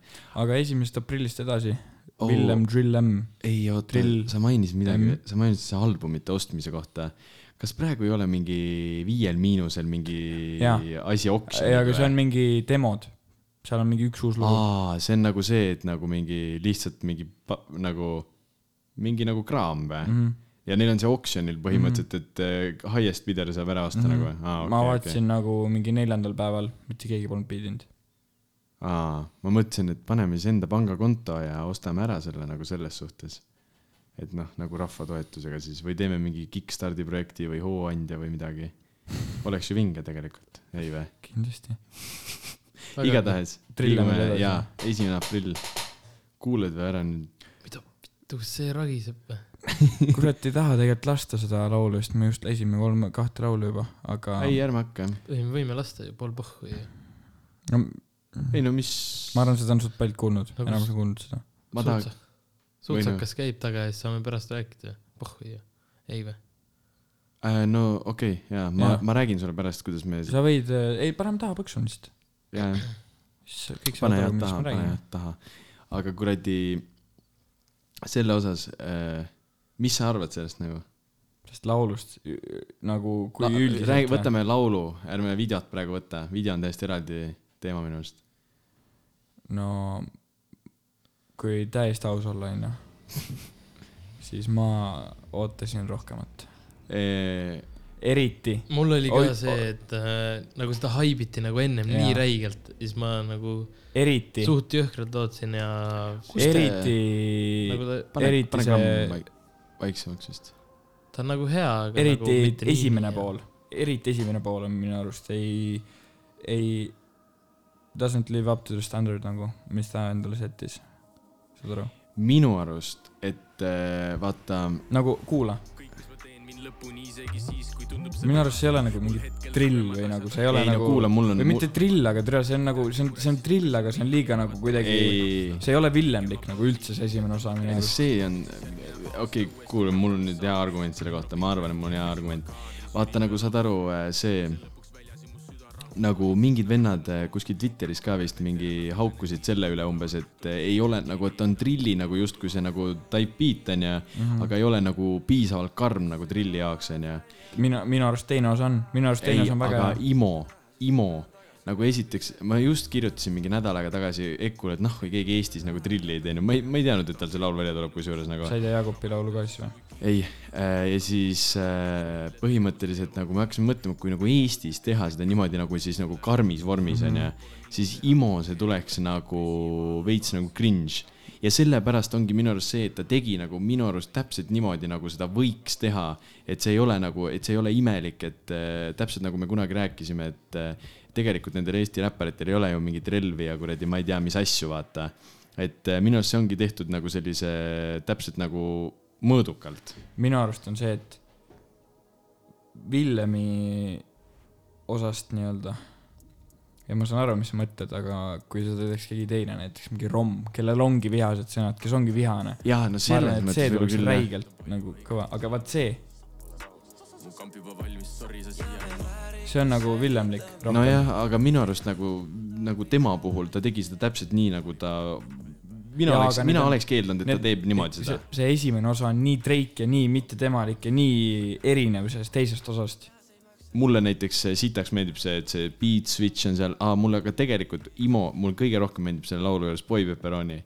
B: aga esimesest aprillist edasi
C: Oo.
B: oh. , Villem Mm. Drill M .
C: ei oota
B: Drill- ,
C: sa mainisid midagi
B: M. ,
C: sa mainisid seda albumite ostmise kohta . kas praegu ei ole mingi Viiel Miinusel mingi ja.
B: Jaa.
C: asi oksjon ?
B: ei , aga see on mingi demod . seal on mingi üks uus lugu .
C: aa , see on nagu see , et nagu mingi lihtsalt mingi pa- nagu , mingi nagu kraam või
B: Mhm.
C: mm ? -hmm. ja neil on see oksjonil põhimõtteliselt mm , -hmm. et äh, highest bidder saab ära osta mm -hmm. nagu
B: Okay,
C: ah, ?
B: Mhm. ma vaatasin okay. nagu mingi neljandal päeval , mitte keegi polnud pidinud .
C: Okay. Aa, ma mõtlesin , et paneme siis enda pangakonto ja ostame ära selle nagu selles suhtes . et noh , nagu rahvatoetusega siis või teeme mingi Kickstarti projekti või hooandja või midagi . oleks ju vinge tegelikult , ei või ?
B: kindlasti .
A: Väga
C: igatahes .
B: Trillame edasi.
C: jaa , esimene aprill . kuulad või ära nüüd ?
A: kus see ragiseb või ?
B: kurat ei taha tegelikult lasta seda laulu , sest me just lasime kolme , kahte laulu juba , aga
C: ei , ärme hakka .
A: ei , me võime lasta ju pool pohhu ju .
B: no,
C: ei no mis .
B: ma arvan , seda on suht paljud kuulnud ,
A: No kus-
B: enamus on kuulnud seda .
C: ma tahaks ,
A: suutsakas käib taga ja siis saame pärast rääkida . pohhu ju . ei või ?
C: äh, no okei okay, , jaa , ma
B: Jaa. ,
C: ma räägin sulle pärast , kuidas me ,
B: sa võid , ei parem taha põksun lihtsalt ,
C: jaa ,
B: siis kõik
C: pane head taha ,
B: saavad aru , millest ma
C: pane
B: räägin .
C: head taha . aga kuradi , selle osas äh, , mis sa arvad sellest nagu ?
B: sest laulust ü- ü- nagu kui
C: La-
B: üldiselt
C: räägi , võtame laulu , ärme videot praegu võta , video on täiesti eraldi teema minu arust .
B: no kui täiesti aus olla onju , siis ma ootasin rohkemat .
C: Äh,
B: eriti .
A: mul oli ka
B: Oi,
A: Oi, see , et äh, nagu seda haibiti nagu ennem
B: Jaa.
A: ja. nii räigelt , siis ma nagu
B: eriti ,
A: suht jõhkralt lootsin ja
C: Kus te-
B: eriti ,
A: nagu ta ,
B: eriti see-
C: vaiksemaks vist .
A: ta on nagu hea , aga
B: eriti
A: nagu mitte nii
B: esimene
A: hea.
B: pool , eriti esimene pool on minu arust ei , ei , doesn't live up to the standard nagu , mis ta endale sättis . saad aru ?
C: minu arust , et äh, vaata ,
B: nagu kuula , minu arust see ei ole nagu mingi drill või nagu see ei ole
C: ei no
B: nagu
C: kuula , mul on
B: või . mitte drill , aga tere , see on nagu , see on , see on drill , aga see on liiga nagu kuidagi ,
C: ei ,
B: see ei ole villemlik nagu üldse see esimene osa minu arust .
C: Äh, see on , okei okay, , kuule , mul on nüüd hea argument selle kohta , ma arvan , et mul on hea argument . vaata , nagu saad aru , see nagu mingid vennad äh, kuskil Twitteris ka vist mingi haukusid selle üle umbes , et äh, ei ole nagu , et on drilli nagu justkui see nagu type beat onju mm ,
B: Mhm.
C: -hmm. aga ei ole nagu piisavalt karm nagu drilli jaoks onju
B: minu , minu arust teine osa on , minu arust teine
C: ei ,
B: osa on väga
C: aga
B: hea .
C: IMO , IMO nagu esiteks , ma just kirjutasin mingi nädal aega tagasi Ekule , et noh , kui keegi Eestis nagu trilli ei teinud , ma ei , ma ei teadnud , et tal see laul välja tuleb , kusjuures nagu
B: sa ei tea Jaagupi laulu ka siis või ?
C: ei , ja siis äh, põhimõtteliselt nagu me hakkasime mõtlema , kui nagu Eestis teha seda niimoodi nagu siis nagu karmis vormis onju , siis IMO see tuleks nagu veits nagu cringe . ja sellepärast ongi minu arust see , et ta tegi nagu minu arust täpselt niimoodi , nagu seda võiks teha , et see ei ole nagu , et see ei ole imelik , et äh, täpselt nagu me kunagi rääkisime , et äh, tegelikult nendel Eesti räpparitel ei ole ju mingit relvi ja kuradi , ma ei tea , mis asju , vaata . et äh, minu arust see ongi tehtud nagu sellise täpselt nagu mõõdukalt .
B: minu arust on see , et Villemi osast nii-öelda ja ma saan aru , mis sa mõtled , aga kui seda teeks keegi teine , näiteks mingi Rom , kellel ongi vihased sõnad , kes ongi vihane ,
C: jaa , no
B: ma
C: selles
B: arvan , et see
C: mõttes võib-olla
B: tuleks
C: küll jah .
B: räigelt nagu kõva , aga vaat see , see on nagu villemlik .
C: nojah , aga minu arust nagu , nagu tema puhul ta tegi seda täpselt nii , nagu ta , mina
B: Jaa,
C: ja, oleks
B: aga , need
C: mina
B: on-
C: on, oleks keeldunud , et need, ta teeb niimoodi seda .
B: see, see esimene osa on nii treik ja nii mittetemalik ja nii erinev sellest teisest osast .
C: mulle näiteks see sitaks meeldib see , et see beat switch on seal , aa mulle aga tegelikult IMO , mul kõige rohkem meeldib selle laulu juures Boy Pepperoni .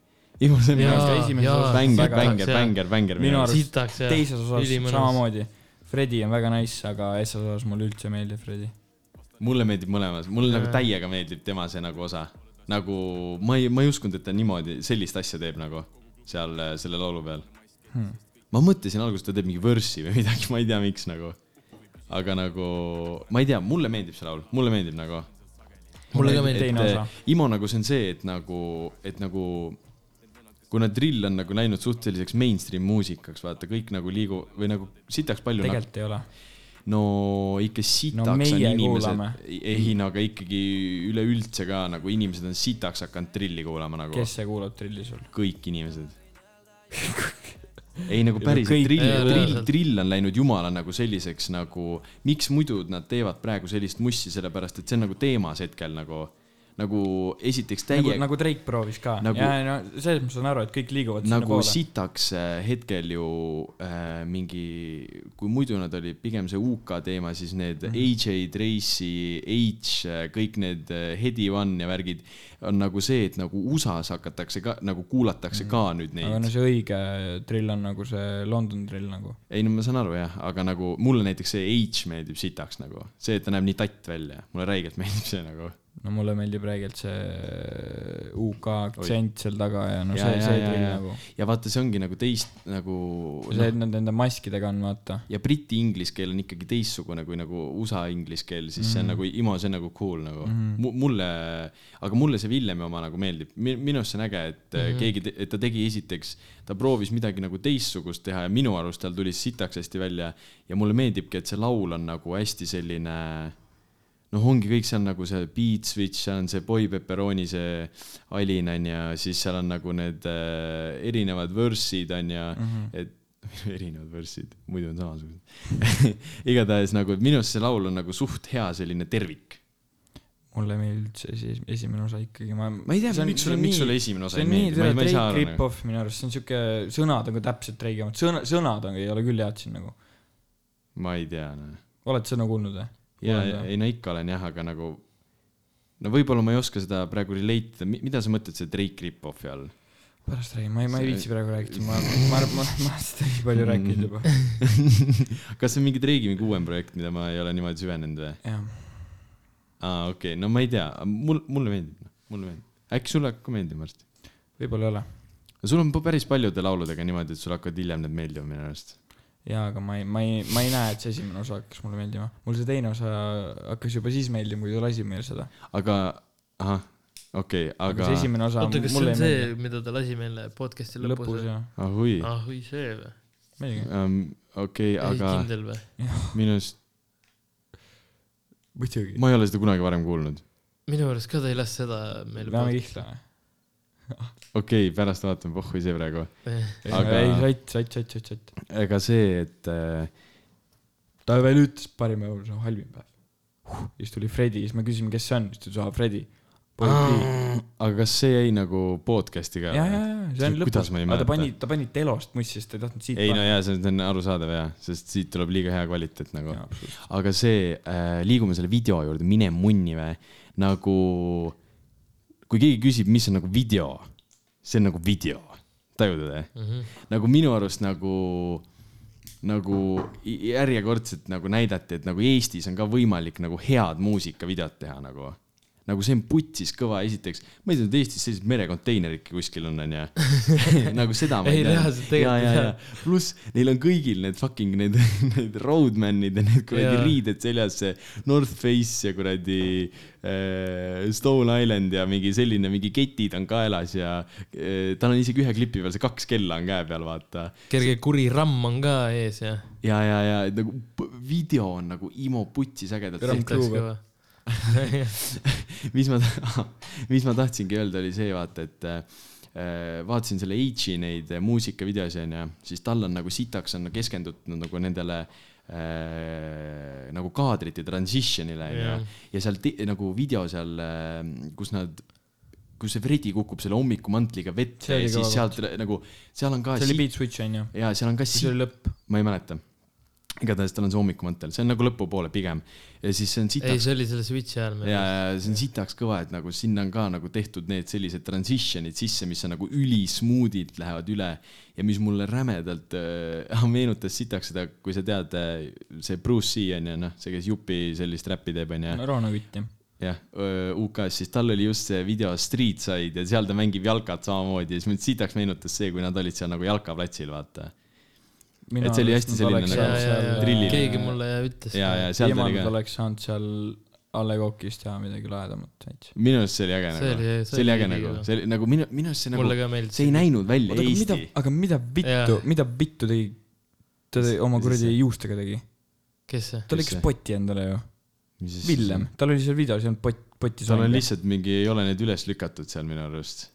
C: IMO , see on minu
A: Jaa,
C: arust
B: esimeses
A: jaa,
B: osas
C: bänger ,
B: väga-
C: bänger ,
A: see-
C: bänger , bänger
B: minu
C: minu arust .
B: arust
A: sitaks jah .
B: teises osas
A: ülimõnus.
B: samamoodi . Fredi on väga nice , aga S osas mulle üldse ei meeldi Fredi .
C: mulle meeldib mõlemas , mulle nagu täiega meeldib tema see nagu osa . nagu ma ei , ma ei uskunud , et ta niimoodi sellist asja teeb nagu seal äh, selle laulu peal
B: Hmm.
C: hmm. . ma mõtlesin alguses , ta teeb mingi võrssi või midagi , ma ei tea , miks nagu . aga nagu , ma ei tea , mulle meeldib see laul , mulle meeldib nagu .
A: Mulle ka meeldib.
B: teine
C: et
B: osa
C: äh, . Imo nagu see on see , et nagu , et nagu kuna drill on nagu läinud suht selliseks mainstream muusikaks , vaata kõik nagu liigu- või nagu sitaks palju nagu,
B: tegelikult ei ole .
C: no ikka sitaks
B: No
C: no, on
B: meie
C: inimesed
B: kuulame. , Mm.
C: ei no aga ikkagi üleüldse ka nagu inimesed on sitaks hakanud trilli kuulama nagu Kes?
B: kes see kuulab trilli sul ?
C: kõik inimesed . ei nagu päriselt ,
B: kõik-
C: drill
A: Jaa, ,
C: drill
A: reaalselt. ,
C: drill on läinud jumala nagu selliseks nagu , miks muidu nad teevad praegu sellist mussi , sellepärast et see on nagu teemas hetkel nagu , nagu esiteks
B: nagu ,
C: täiega nagu,
B: nagu Drake proovis ka
C: Nagu-
B: nagu, . ja , no selles ma saan aru , et kõik liiguvad
C: nagu, nagu
B: nagu sinnapoole .
C: sitaks äh, hetkel ju äh, mingi , kui muidu nad olid pigem see UK teema , siis need
B: Mhm.
C: mm -hmm. AJ , Tracy , H , kõik need äh, Hedi One ja värgid on nagu see , et nagu USA-s hakatakse ka , nagu kuulatakse mm -hmm. ka nüüd neid
B: Mhm. aga no see õige drill on nagu see London drill nagu .
C: ei no ma saan aru jah , aga nagu mulle näiteks see H meeldib sitaks nagu , see , et ta näeb nii tatt välja , mulle räigelt meeldib see nagu .
B: no mulle meeldib räigelt see UK aktsent seal taga ja no
C: Ja,
B: see ,
C: ja,
B: see
C: ja,
B: tuli
C: ja.
B: nagu .
C: ja vaata , see ongi nagu teist nagu
B: see , et nad nende maskidega on , vaata .
C: ja briti inglise keel on ikkagi teistsugune kui nagu USA inglise keel , siis mm. see on nagu IMO , see on nagu cool nagu mm. . mulle , aga mulle see Villemi oma nagu meeldib , minu arust see on äge , et mm -hmm. keegi , et ta tegi esiteks , ta proovis midagi nagu teistsugust teha ja minu arust tal tuli see sitaks hästi välja . ja mulle meeldibki , et see laul on nagu hästi selline noh , ongi kõik seal nagu see beat switch , seal on see Boy Pepperoni see alin on ja siis seal on nagu need äh, erinevad võrssid on ja mm , -hmm. et erinevad võrssid , muidu on samasugused . igatahes nagu et minu arust see laul on nagu suht hea selline tervik .
B: mulle meeldis see esi- esimene osa ikkagi , ma .
C: Ma ei tea, miks sulle- miks sulle esimene osa
B: ei
C: ei meeldi?
B: meeldi
C: Ma ei- ma ei saa
B: Drake
C: aru nagu.
B: rip-off minu arust , see on siuke , sõnad on ka täpselt Drake'i omad , sõna , sõnad on , ei ole küll head siin nagu .
C: ma ei tea no. .
B: oled sõna kuulnud või ?
C: ja , ei no ikka olen jah , aga nagu no võib-olla ma ei oska seda praegu relate ida , mida sa mõtled see Drake rip-off'i all ?
B: pärast räägin , ma ei , ma
C: See-
B: ei
C: Mm.
B: viitsi praegu rääkida , ma , ma , ma , ma olen seda nii palju rääkinud juba .
C: kas see on mingi Drake'i mingi uuem projekt , mida ma ei ole niimoodi süvenenud või ?
B: jah ,
C: aa , okei okay. , no ma ei tea , mul , mulle meeldib , mulle meeldib . äkki sulle hakkab ka meeldima varsti ?
B: võib-olla ei ole .
C: sul on päris paljude lauludega niimoodi , et sulle hakkavad hiljem need meeldima minu arust .
B: jaa , aga ma ei , ma ei , ma ei näe , et see esimene osa hakkas mulle meeldima . mul see teine osa hakkas juba siis meeldima , kui ta lasi meil seda .
C: aga , ahah , okei okay, ,
B: aga
C: aga
B: see . esimene osa
A: oota , kas see
B: mulle
A: on
B: ei
A: see
B: meeldi .,
A: mida ta lasi meile podcast'i lõpus,
B: lõpus
A: lõpus ?
B: jah ,
C: ah hui
A: ah või see või ?
B: muidugi .
C: um, . okei okay, ,
A: aga .
C: aga
A: kindel või ?
C: minu arust ,
B: muidugi .
C: ma ei ole seda kunagi varem kuulnud .
A: minu arust ka ta ei lase seda meil .
B: peame kihla või ?
C: okei okay, , pärast vaatame , pohhui see praegu . Aga-
B: ei , sott , sott , sott , sott , sott .
C: ega see , et äh,
B: ta veel ütles , parim päev , see on halvim päev huh. . siis tuli Fredi , siis me küsisime , kes see on , siis ta ütles , aa , Fredi .
C: aga kas see jäi nagu podcast'i ka ?
B: ja , ja , ja , see on lõpus .
C: kuidas ma ei
B: aga ta
C: mäleta
B: pani ,? ta pani telost mussi , sest ta ei tahtnud siit
C: ei no jaa , see on- see on arusaadav jaa , sest siit tuleb liiga hea kvaliteet nagu .
B: jaa .
C: aga see äh, , liigume selle video juurde , mine munni või , nagu kui keegi küsib , mis on nagu video , see on nagu video , tajud või mm ?
A: Mhm.
C: -hmm. nagu minu arust nagu , nagu i- järjekordselt nagu näidati , et nagu Eestis on ka võimalik nagu head muusikavideot teha nagu nagu see on putsis kõva , esiteks , ma ei teadnud , Eestis sellised merekonteineridki kuskil on , onju . nagu seda ma
A: Ei,
C: ei
A: reaalselt tegelikult ei tea.
C: teadnud . pluss neil on kõigil need fucking need , need roadman'id ja need kuradi
A: Jaa.
C: riided seljas , see North Face ja kuradi äh, Stone Island ja mingi selline , mingi ketid on kaelas ja äh, tal on isegi ühe klipi peal see kaks kella on käe peal , vaata .
A: kerge kuri ramm on ka ees ja .
C: ja , ja , ja et nagu p- video on nagu IMO putsis ägedalt
B: Ramm
C: tehtud .
B: Kruuger.
C: mis ma , mis ma tahtsingi öelda , oli see vaata , et äh, vaatasin selle H-i neid äh, muusikavideosi onju , siis tal on nagu sitaks on keskendutud nagu nendele äh, nagu kaadrite transition'ile onju
A: Jah.
C: yeah. ja seal ti- nagu video seal , kus nad , kus see Fredi kukub selle hommikumantliga
B: See
C: vette
B: oli
C: ja siis
B: kõva
C: sealt nagu , seal on ka
B: see oli
C: siit-
B: Beat Switch onju ,
C: ja seal on ka
B: siis
C: siit
B: oli lõpp .
C: ma ei mäleta . igatahes tal on see hommikumantel , see on nagu lõpupoole pigem ja siis see on
A: ei ,
C: sitaks
A: see oli selle Switch'i ajal meil
C: ja . see on sitaks kõva , et nagu sinna on ka nagu tehtud need sellised transition'id sisse , mis on nagu ülismuudilt lähevad üle ja mis mulle rämedalt äh, meenutas sitaks seda , kui sa tead äh, see Bruce C on ju noh , see , kes jupi sellist räppi teeb , on ju .
B: Rauno Kütt jah .
C: jah , UK-s , siis tal oli just see video Streetside ja seal ta mängib jalkat samamoodi ja siis mind sitaks meenutas see , kui nad olid seal nagu jalkaplatsil , vaata . Et see oli hästi selline
A: ja ,
C: nagu
A: ja , ja
C: drilliline.
A: keegi mulle ütles .
C: ja , ja seal ta oli
B: viimane
C: ka .
B: oleks saanud seal A Le Coq'is teha midagi lahedamat veits .
C: minu arust see oli äge
A: See
C: nagu
A: oli- , see
C: see oli
A: oli
C: äge
A: nii
C: nagu
A: kõva. ,
C: see oli nagu minu , minu arust see nagu
A: mulle , ka meeldis .
C: see ei näinud välja Oota,
B: mida
C: Eesti ,.
B: aga mida vittu
A: Jaa. ,
B: mida vittu tegi , ta tegi oma
C: Mis
B: kuradi
C: see-
B: juustega tegi .
A: kes see ?
B: ta
C: Mis
B: lõikas
C: see?
B: poti endale ju , Villem , tal oli seal videos ei olnud pott , poti
C: tal on
B: soengi.
C: lihtsalt mingi , ei ole need üles lükatud seal minu arust .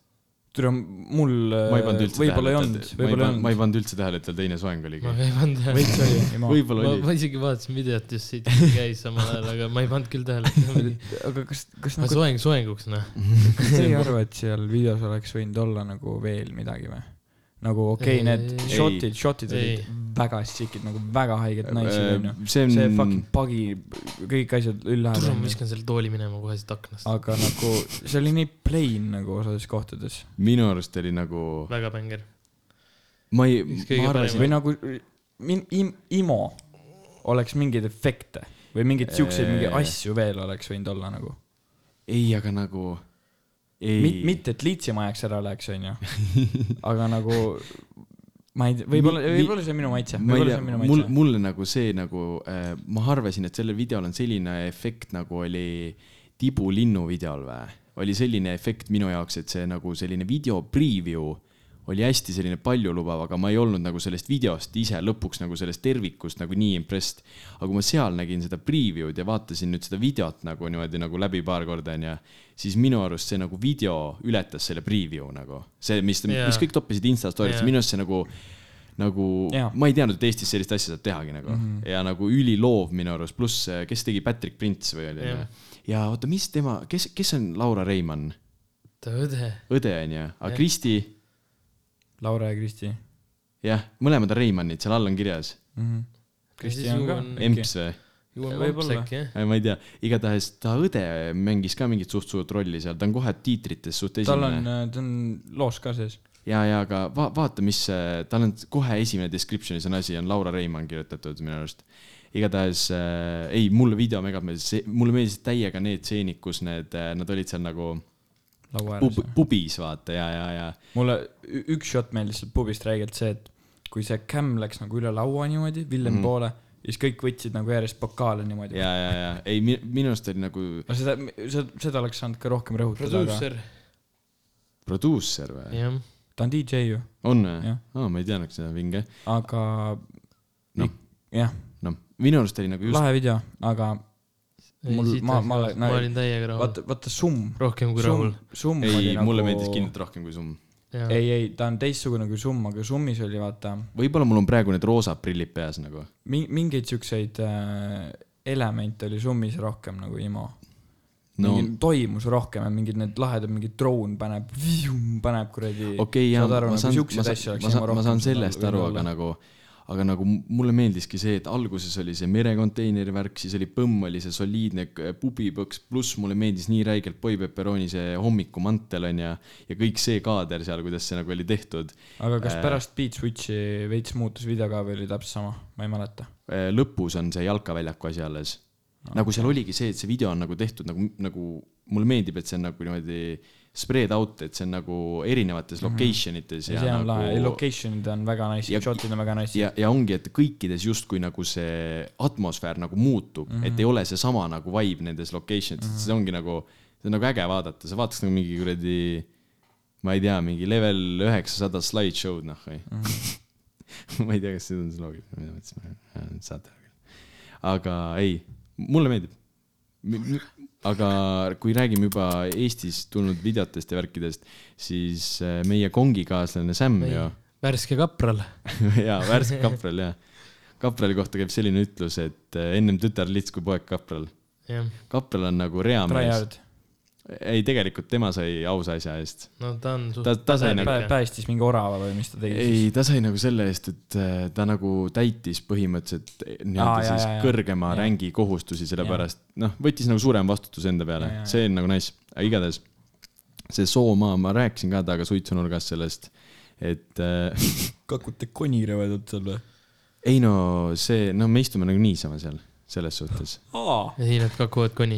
B: türa , mul
C: ma ei pannud üldse
B: Äh, võib-olla ei
C: tähele
B: olnud , võib-olla
C: ma
B: ei
C: ei
B: olnud .
C: pannud üldse tähele , et tal teine soeng oli .
A: ma ka ei pannud
B: veits
A: tähele .
B: oli , ei ma .
C: võib-olla
A: ma ,
C: oli .
A: ma isegi vaatasin videot just siit , kui käis samal ajal , aga ma ei pannud küll tähele .
B: aga kas , kas
A: ma
B: nagu
A: soeng soenguks , noh .
B: kas te ei arva , et seal videos oleks võinud olla nagu veel midagi või ? nagu okei
A: Ei.
B: okay, , need
A: Ei.
B: shot'id , shot'id
A: Ei.
B: olid väga sick'id , nagu väga haiged naised onju .
C: Äh, see
B: see
C: on
B: fucking , pagi , kõik asjad
A: tule ,
B: üllahääled
A: ma
B: onju .
A: viskan selle tooli minema kohe siit aknast .
B: aga nagu see oli nii plain nagu osades kohtades .
C: minu arust oli nagu ,
A: väga bänger .
C: ma ei ,
A: Üks kõige
C: ma arvasin ,
B: või nagu min- , im- , IMO oleks mingeid efekte või mingeid siukseid , mingeid
C: Eee.
B: asju veel oleks võinud olla nagu .
C: ei , aga nagu ei
B: Mit, . mitte , et liitsima ajaks ära läheks , onju . aga nagu ma ei tea , võib-olla ,
C: Mi- mi-
B: võib-olla see on minu maitse ,
C: ma ei
B: võib-olla see
C: tea
B: on , minu
C: mul ,
B: maitse .
C: mulle nagu see nagu äh, , ma arvasin , et sellel videol on selline efekt , nagu oli tibulinnu videol või ? oli selline efekt minu jaoks , et see nagu selline video preview oli hästi selline paljulubav , aga ma ei olnud nagu sellest videost ise lõpuks nagu sellest tervikust nagu nii impressed . aga kui ma seal nägin seda preview'd ja vaatasin nüüd seda videot nagu niimoodi nagu läbi paar korda onju , siis minu arust see nagu video ületas selle preview nagu . see , mis yeah. ,
A: Jaa.
C: mis kõik toppisid Insta story'd yeah. ,
A: Jaa.
C: minu arust see nagu nagu
B: Jaa. Mhm.
C: ma ei teadnud , et Eestis sellist asja saab tehagi nagu mm -hmm. ja nagu üliloov minu arust , pluss eh, kes tegi Patrick Prints või oli
A: Jah.
C: yeah. ja oota , mis tema , kes , kes on Laura Reimann ,
A: ta õde .
C: õde on ju , aga
A: Jah.
C: Kristi ,
B: Laura ja Kristi
C: jah , mõlemad on Reimannid , seal all on kirjas ,
B: mm . -hmm. Kristi
A: siis
B: on ka
A: ju on- .
C: emps või ?
A: juua
B: Võib-olla.
A: mõmps äkki , jah ?
C: ma ei tea , igatahes ta õde mängis ka mingit suht suurt rolli seal , ta on kohe tiitrites suht
B: tal on
C: esimene .
B: äh, , ta on loos ka sees .
C: ja , ja aga va- , vaata , mis , tal on kohe esimene description'is on asi , on Laura Reimann kirjutatud minu arust . igatahes äh, ei , mulle video megab meeldis , mulle meeldisid täiega need stseenid , kus need , nad olid seal nagu
B: laua
C: pub,
B: ääres .
C: pubis vaata ja , ja , ja .
B: mulle ü- üks shot meeldis sealt pubist räigelt see , et kui see kämm läks nagu üle laua niimoodi , Villem
C: Mhm.
B: mm. poole , siis kõik võtsid nagu järjest pokaale niimoodi .
C: ja , ja , ja ei , minu arust oli nagu
B: no seda , seda , seda oleks saanud ka rohkem rõhutada , aga
A: produusser ,
C: produusser või ?
A: jah .
B: ta on DJ ju ,
C: on või
B: Jah. ?
C: aa , ma ei teadnud seda , vinge .
B: aga
C: Noh.
B: jah ,
C: noh , minu arust oli nagu just ,
B: lahe video , aga Mul- ma- ma olen-
A: ma
B: no-
A: olin täiega rahul .
B: vaata , vaata summ ,
A: rohkem kui
B: summ
A: rahul .,
B: summ oli
C: ei ,
B: nagu
C: mulle meeldis kindlalt rohkem kui summ .
A: jah ,
B: ei , ei , ta on teistsugune kui summ , aga summis oli vaata
C: võib-olla mul on praegu need roosad prillid peas nagu .
B: mi- , mingeid siukseid äh, elemente oli summis rohkem nagu IMO
C: no
B: no. mingi toimus rohkem ja mingid need lahedad , mingi droon paneb , paneb kuradi
C: okei , jaa ,
B: saad aru ,
C: ma
B: nagu
C: saan ,
B: siukseid
C: ma
B: asju
C: saan ,
B: oleks
C: ma
B: IMO
C: saan , ma
B: rohkem
C: saan
B: saanud
C: sellest aru ,
B: võib-olla.
C: aga nagu , aga nagu mulle meeldiski see , et alguses oli see merekonteineri värk , siis oli põmm , oli see soliidne k- pubipõks , pluss mulle meeldis nii räigelt Boy Pepperoni see hommikumantel on ja , ja kõik see kaader seal , kuidas see nagu oli tehtud .
B: aga kas
C: Äh.
B: pärast Beat Switchi veits muutus video ka või oli täpselt sama , ma ei mäleta .
C: Äh, lõpus on see jalkaväljaku asi alles . nagu seal oligi see , et see video on nagu tehtud nagu , nagu mulle meeldib , et see on nagu niimoodi spread out , et see on nagu erinevates location ites
B: see on
C: nagu...
B: lahe , Mhm. ei location'id on väga
C: ja-
B: nice , shot'id on väga nice .
C: ja , ja ongi , et kõikides justkui nagu see atmosfäär nagu muutub mm , -hmm. et ei ole seesama nagu vibe nendes location ites mm , -hmm. see ongi nagu , see on nagu äge vaadata , sa vaataks nagu mingi kuradi , ma ei tea , mingi level üheksasada slideshow'd noh või mm . -hmm. ma ei tea , kas see on see loogika , mida ma ütlesin , saate aru küll . aga ei , mulle meeldib . aga kui räägime juba Eestis tulnud videotest ja värkidest , siis äh, meie kongikaaslane Sam
A: Meie.
C: ju
A: värske kapral .
C: jaa , värske kapral jah . kaprali kohta käib selline ütlus , et eh, ennem tütar lits kui poeg kapral .
A: jah ,
C: kapral on nagu reamees .
B: Tryhard ,
C: ei , tegelikult tema sai ausa asja eest .
A: no ta on suht-
C: ta , ta sai nagu ,
B: päästis mingi orava või mis ta tegi
C: ei , ta sai nagu selle eest , et eh, ta nagu täitis põhimõtteliselt eh,
B: Aa,
C: nii-öelda
B: jaa,
C: siis
B: jaa, jaa.
C: kõrgema
B: Jah.
C: rängi kohustusi , sellepärast noh , võttis nagu suurema vastutuse enda peale
B: Jaa, jaa, ,
C: see on nagu nice , aga igatahes see Soomaa , ma rääkisin ka temaga suitsunurgas sellest , et eh,
B: siis ? kakute konirõved otsal või ?
C: ei no see , no me istume nagu niisama seal , selles suhtes .
B: aa ,
A: ei , nad kakuvad koni .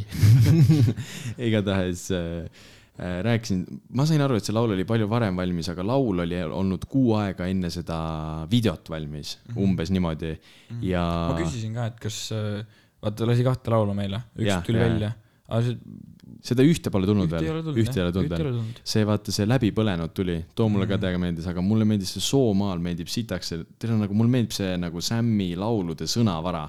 C: igatahes äh, äh, rääkisin , ma sain aru , et see laul oli palju varem valmis , aga laul oli olnud kuu aega enne seda videot valmis mm , -hmm. umbes niimoodi mm -hmm. ja .
B: Mhm. ma küsisin ka , et kas , vaata lasi kahte laulu meile , üks
C: Jah,
B: tuli
C: jah.
B: välja , aga see
C: seda ühte pole tulnud
B: ühte ei ole
C: veel ,
B: tulnud ,
C: ühte ei ole tulnud veel .
B: tulnud . Mhm.
C: see vaata , see läbipõlenud tuli , too mulle ka täiega meeldis , aga mulle meeldis see Soomaal meeldib sitaks , teil on nagu , mulle meeldib see nagu Sämmi laulude sõnavara .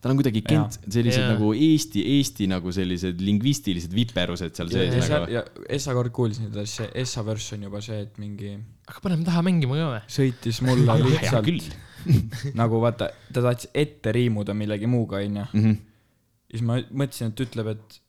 C: tal on kuidagi kent , sellised
A: Jaa.
C: nagu Eesti , Eesti nagu sellised lingvistilised viperused seal
B: ja, ja,
C: sees
B: seal,
C: nagu .
B: ja Essa kord kuulsin seda , see Essa verss on juba see , et mingi
A: aga paneme taha mängima ka või ?
B: sõitis mulle
C: hea
B: lihtsalt
C: küll .
B: nagu vaata , ta tahtis ette riimuda millegi muuga , onju .
C: Mhm.
B: siis ma mõtlesin , et ütleb , et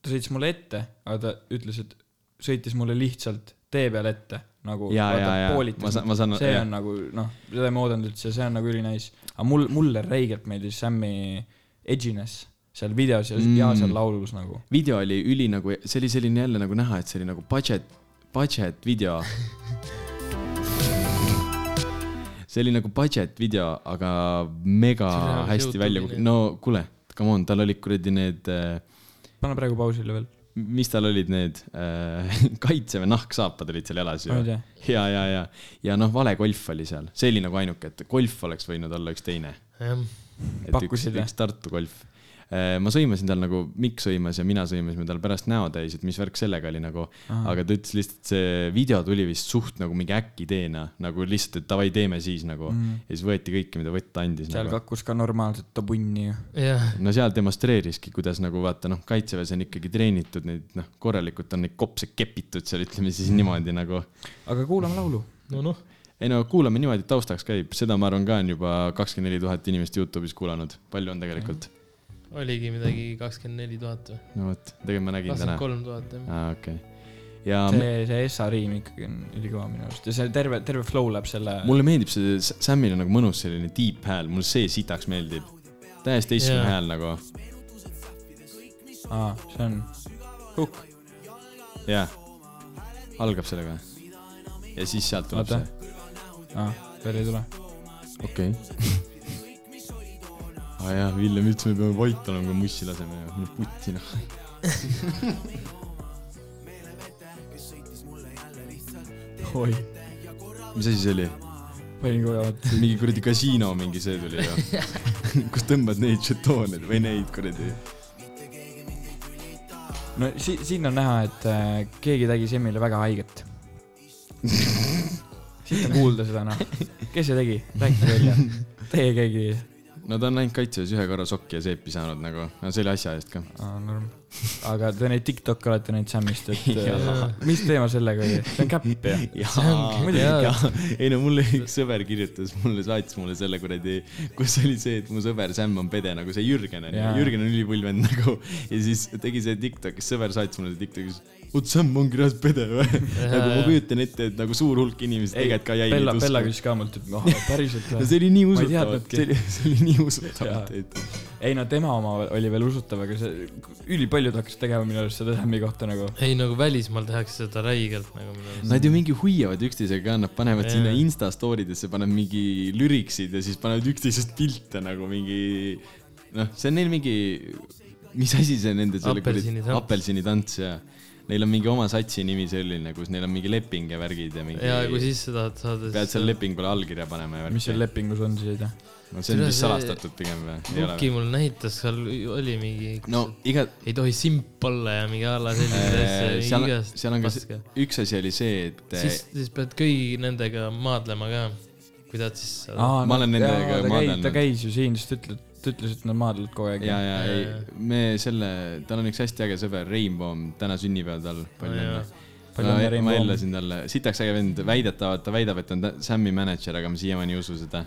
B: ta sõitis mulle ette , aga ta ütles , et sõitis mulle lihtsalt tee peal ette , nagu
C: Jaa,
B: vaata,
C: jaa, jaa.
B: poolitas
C: Ma saan-
B: mind.
C: ma saan-
B: see
C: jah.
B: on nagu noh , seda ma ei oodanud üldse , see on nagu ülinais . aga mul , mulle räigelt meeldis Sam'i edginess seal videos ja, mm. ja seal laulus nagu .
C: video oli üli nagu , see oli selline jälle nagu näha , et see oli nagu budget , budget video . see oli nagu budget video , aga mega
A: See läheb
C: hästi
A: YouTube'i
C: välja ,
A: nüüd.
C: no kuule , come on , tal olid kuradi need ,
B: pane praegu pausile veel .
C: mis tal olid need äh, kaitseväe nahksaapad olid seal jalas ju
B: Ma ei tea. .
C: ja , ja , ja , ja noh , vale golf oli seal , see oli nagu ainuke , et golf oleks võinud olla üks teine .
A: jah ,
C: et üks
B: Pakkusid, , jah?
C: üks Tartu golf . ma sõimasin tal nagu , Mikk sõimas ja mina sõimasime tal pärast näo täis , et mis värk sellega oli nagu , aga ta ütles lihtsalt , see video tuli vist suht nagu mingi äkkiteena , nagu lihtsalt , et davai , teeme siis nagu mm. . ja siis võeti kõike , mida võtta andis .
B: seal
C: Nagu.
B: kakkus ka normaalset tabunni ju .
A: jah ,
C: no seal demonstreeriski , kuidas nagu vaata noh , kaitseväes on ikkagi treenitud neid noh , korralikult on neid kopse kepitud seal , ütleme siis
B: Mm.
C: niimoodi nagu .
B: aga kuulame laulu .
A: no noh ,
C: ei no kuulame niimoodi , et taustaks käib , seda ma arvan ka on juba kakskümmend neli tuhat inimest Youtube'is kuulanud , palju on tegelikult ?
A: oligi midagi kakskümmend neli tuhat või ,
C: no vot , tegelikult ma nägin täna
A: kakskümmend . kolm tuhat jah .
C: aa , okei okay. . ja see...
B: see , see Essa riim ikkagi on ülikõva minu arust ja see terve , terve flow läheb selle
C: mulle meeldib see , Samil on nagu mõnus selline deep hääl , mulle see sitaks meeldib . täiesti teistsugune
A: Jaa.
C: yeah. hääl nagu ,
B: aa , see on hukk .
C: jah . algab sellega . ja siis sealt tuleb
B: Oota.
C: see .
B: aa , veel ei tule .
C: okei okay. . aa jaa , Villem ütles , me peame vait olema , kui mussi laseme ja mine putti noh .
B: oi ,
C: mis asi see oli ?
B: ma olin kohe vaata .
C: mingi kuradi kasiino mingi see tuli ju . kus tõmbad neid žetoone või neid kuradi .
B: no si- , siin on näha , et äh, keegi tegi Semmile väga haiget . siit on kuulda seda noh . kes see tegi ? rääkige välja . Teie keegi .
C: no ta on ainult kaitseväes ühe korra sokki ja seepi saanud nagu , no see oli asja eest ka .
B: aga te neid Tiktok'e olete näinud Sämmist , et äh,
A: Jaa.
B: mis teema sellega oli ? see on käpp jah ?
A: ongi-
C: jaa ,
A: jaa.
C: jaa , ei no mulle üks sõber kirjutas mulle , saatis mulle selle kuradi , kus oli see , et mu sõber Sam on pede , nagu see Jürgen on ju
B: Jaa. ,
C: Jürgen on ülipull vend nagu ja siis tegi see Tiktokis , sõber saatis mulle Tiktokis , oot Sam ongi reaalselt pede või ? nagu ma
A: jaa.
C: kujutan ette , et nagu suur hulk inimesi tegelikult ka jäi
B: Bella , Bella . küsis ka mult , et noh , päriselt
C: no
B: või ?
C: see oli nii
B: Ma ei
C: usutav ,
B: teadnudki.
C: see oli , see oli nii usutav
B: Jaa. ,
C: et ,
B: ei no tema oma oli veel usutav , aga see , ülipaljud hakkasid tegema minu arust seda Sämmi kohta nagu .
A: ei nagu välismaal tehakse seda räigelt nagu minu arust .
C: Nad ju mingi huiavad üksteisega ka , nad panevad
A: Jaa.
C: sinna Insta story desse , panevad mingi lüriksid ja siis panevad üksteisest pilte nagu mingi . noh , see on neil mingi , mis asi see nende selle
A: Apelsinitants.
C: apelsinitants ja neil on mingi oma satsi nimi selline , kus neil on mingi leping ja värgid ja mingi .
A: ja kui sisse tahad saada ,
C: pead
A: siis
C: seal lepingule allkirja panema ja
B: mis seal
C: värki .
B: lepingus on siis , ei tea .
C: no see on
A: Seda
C: vist
A: see-
C: salastatud pigem või ? ei ole
A: Nuki
C: või ?
A: mul näitas , seal oli mingi ,
C: no iga ,
A: ei tohi simp olla ja mingi a la selliseid asju ,
C: Äh, seal ,
A: igast
C: seal on ka see
A: paska .,
C: üks asi oli see , et
A: siis , siis pead kõigi nendega maadlema ka , kui tahad sisse saada .
B: Aa,
C: Ma
B: no-
C: olen nendega
B: jaa, ta käi-
C: maadelnud.
B: ta käis ju siin , siis ta ütles , ta ütles , et nad maadlevad kogu aeg .
C: ja , ja ei
A: Ja, ja. ,
C: me selle , tal on üks hästi äge sõber , Rainbow , täna sünnipäev tal , palju
A: jaa.
C: õnne .
B: Palju õnne,
C: ma
B: Rainbow.
C: jällasin talle , sitaks äge vend , väidetavalt ta väidab , et on ta Sammi mänedžer , aga ma siiamaani ei usu seda .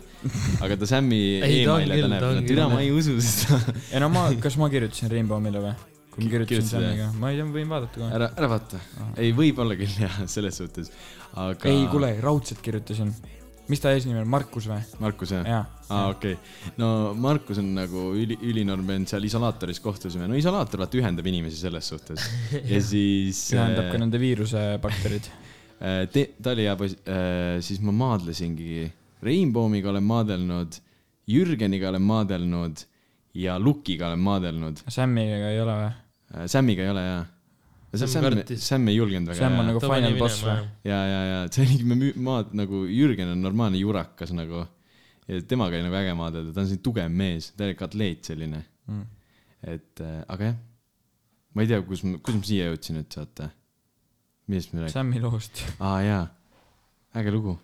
C: aga ta Sammi
A: Ei, ta on
C: emaili
A: küll,
C: ta näeb
A: ta on , küll,
C: türa
A: jah.
C: ma ei usu seda .
B: ei no ma , kas ma kirjutasin Rainbow'ile või ? kui ma kirjutasin
C: kirjutasid,
B: Samiga , ma ei tea , ma võin vaadata kohe .
C: ära , ära vaata . ei , võib-olla küll jah , selles suhtes , aga .
B: ei , kuule , raudselt kirjutasin . mis ta eesnimi on , Markus või ?
C: Markus jah ?
B: jaa .
C: aa , okei okay. . no Markus on nagu üli , ülinorm vend , seal isolaatoris kohtusime , no isolaator vaata ühendab inimesi selles suhtes ja siis . äh,
B: ühendab ka nende viirusebakterid .
C: Te- , ta oli hea poiss , siis ma maadlesingi , Rainbowmiga olen maadelnud , Jürgeniga olen maadelnud ja Lukiga olen maadelnud .
B: Samiga ei ole või ?
C: Sämmiga ei ole jaa .
A: Sam
C: Sam ,
A: kartis.
C: Sam ei julgenud väga .
B: Sam on nagu final boss või ??
C: ja , ja , ja see oligi , me müü- maad nagu , Jürgen on normaalne jurakas nagu . ja temaga oli nagu äge maadelda , ta on selline tugev mees , täielik atleet selline .
B: Mm.
C: et äh, aga jah , ma ei tea , kus ma , kus ma siia jõudsin üldse , oota . millest me räägime ?
B: Sami loost .
C: aa jaa , äge lugu .